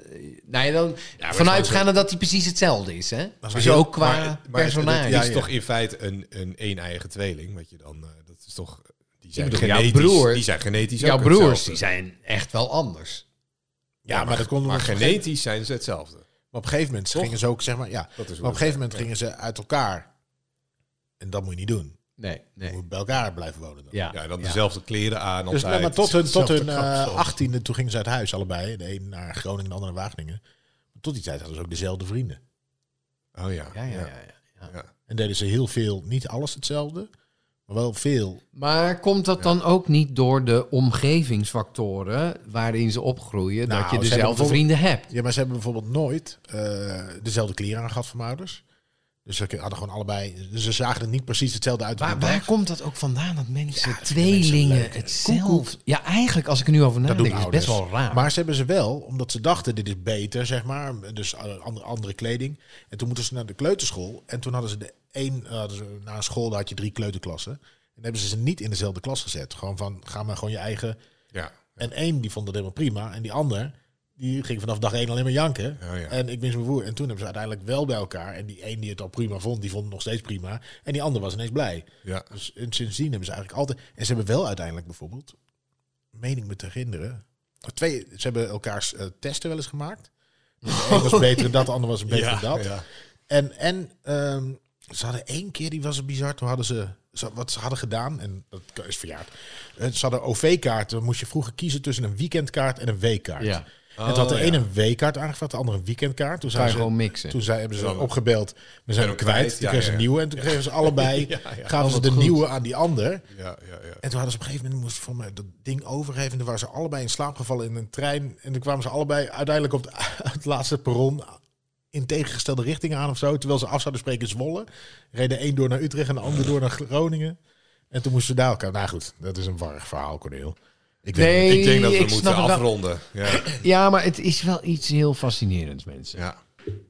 Nou ja, dan vanuitgaande dat hij precies hetzelfde is, hè? Dus heel- ook qua maar- maar het- personage. Het, Ja, is ja. toch in feite een, een een-eigen tweeling, wat je dan... eh, dat is toch... Die zijn bedoel, jouw genetisch, broer- die zijn genetisch Jouw ook broers hetzelfde. die zijn echt wel anders. Ja, maar, dat komt Maar omdat- genetisch zijn ze hetzelfde. Maar op een gegeven moment gingen ze ook, zeg maar, ja. Dat is Maar op een hoe gegeven moment gingen ze uit elkaar. En dat moet je niet doen. Nee, Je nee. moet bij elkaar blijven wonen. Dan. Ja, Ja, en dan dezelfde kleren aan. Dus altijd. nee, maar tot hun, tot hun Hetzelfde kapsel. eh, 18e, toen gingen ze uit huis allebei. De een naar Groningen, de ander naar Wageningen. Maar tot die tijd hadden ze ook dezelfde vrienden. Oh ja. Ja, ja, ja. ja. En deden ze heel veel, niet alles hetzelfde, maar wel veel. Maar komt dat dan ook niet door de omgevingsfactoren waarin ze opgroeien, dat Nou, je ze hebben dezelfde bijvoorbeeld- vrienden hebt? Ja, maar ze hebben bijvoorbeeld nooit eh, dezelfde kleren aan gehad van mijn ouders. Dus ze hadden gewoon allebei, ze zagen er niet precies hetzelfde uit. op Ah, Waar, de waar dag. komt dat ook vandaan dat mensen dat vinden tweelingen mensen leuk. hetzelfde? Ja, eigenlijk als ik er nu over Dat doen nadenk, is het ouders. best wel raar. Maar ze hebben ze wel, omdat ze dachten dit is beter, zeg maar. Dus eh, andere, andere kleding. En toen moeten ze naar de kleuterschool. En toen hadden ze de één, eh, hadden ze, na een school daar had je drie kleuterklassen. En dan hebben ze ze niet in dezelfde klas gezet. Gewoon van, ga maar gewoon je eigen. Ja. En één die vond dat helemaal prima. En die ander, die ging vanaf dag één alleen maar janken. Ja, ja. En ik mis mijn woer. En toen hebben ze uiteindelijk wel bij elkaar. En die één die het al prima vond, die vond het nog steeds prima. En die ander was ineens blij. ja. Dus en sindsdien hebben ze eigenlijk altijd. En ze hebben wel uiteindelijk bijvoorbeeld mening met de kinderen. Twee, ze hebben elkaars eh, testen wel eens gemaakt. Dus De een was beter en dat, de ander was beter Ja, dan dat. ja. En, en ehm, ze hadden één keer, die was bizar, toen hadden ze, ze- wat ze hadden gedaan, en dat is verjaard. Eh, Ze hadden OV-kaarten, moest je vroeger kiezen tussen een weekendkaart en een weekkaart. Ja. En toen had de Oh, ene ja. een weekkaart aangevraagd, de andere een weekendkaart. Toen Kan zijn je ze gewoon mixen. toen zei, hebben ze Ja. opgebeld. We zijn hem hem kwijt. kwijt. Toen Ja, kregen ze ja, een ja. nieuwe. En toen kregen ze allebei. Ja, ja. Gaven ze wat de goed. nieuwe aan die ander. Ja, ja, ja. En toen hadden ze op een gegeven moment moesten ze voor mij dat ding overgeven. En toen waren ze allebei in slaap gevallen in een trein. En toen kwamen ze allebei uiteindelijk op het, het laatste perron in tegengestelde richtingen aan of zo. Terwijl ze af zouden spreken in Zwolle. Reden één door naar Utrecht en de ander door naar Groningen. En toen moesten ze daar elkaar. Nou goed, dat is een warrig verhaal, Corneel. Ik weet Nee, Ik denk dat we ik moeten snap het wel. afronden. Ja. Ja, maar het is wel iets heel fascinerends, mensen. ja.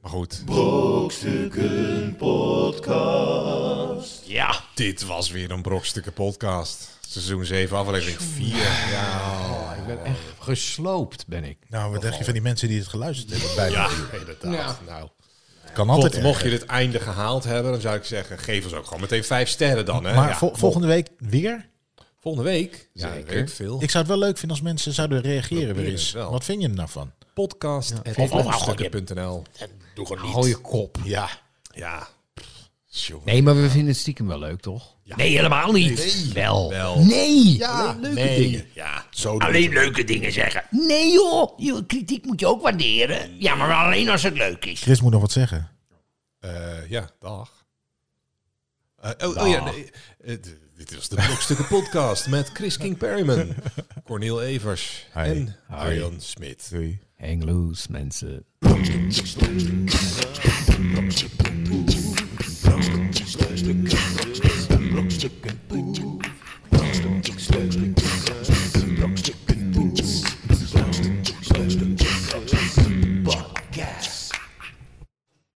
Maar goed. Brokstukken Podcast. Ja. Dit was weer een brokstukken podcast. Seizoen 7, aflevering 4. Ja. Ik ben echt gesloopt, ben ik. Nou, wat dacht je van die mensen die het geluisterd hebben? Bij inderdaad. Ja. Nou. Kan Tot, altijd mocht erger. je dit einde gehaald hebben, dan zou ik zeggen, geef ons ook gewoon meteen 5 sterren dan. Hè? Maar Ja. vol- volgende week weer? volgende week. Ja, Zeker. weet ik veel. Ik zou het wel leuk vinden als mensen zouden reageren weer Proberen eens. het wel. Wat vind je er nou van? podcast at Of- of- brokstukken.nl. Nou, Doe gewoon Hou je kop. Ja. Ja. Jongen. Nee, maar we vinden het stiekem wel leuk, toch? Nee, helemaal niet. Wel. Wel. Nee. Ja, Leuke nee. dingen. Ja. Zo Alleen leuke dingen zeggen. Nee, joh. Je kritiek moet je ook waarderen. Ja, maar alleen als het leuk is. Chris moet nog wat zeggen. Eh, ja, dag. Eh, oh, oh ja, nee, eh, d- dit was de Brokstukken podcast met Chris King Perryman, Cornel Evers Hi. en Arjan Smit. Hang loose, mensen. Brokstukken Podcast.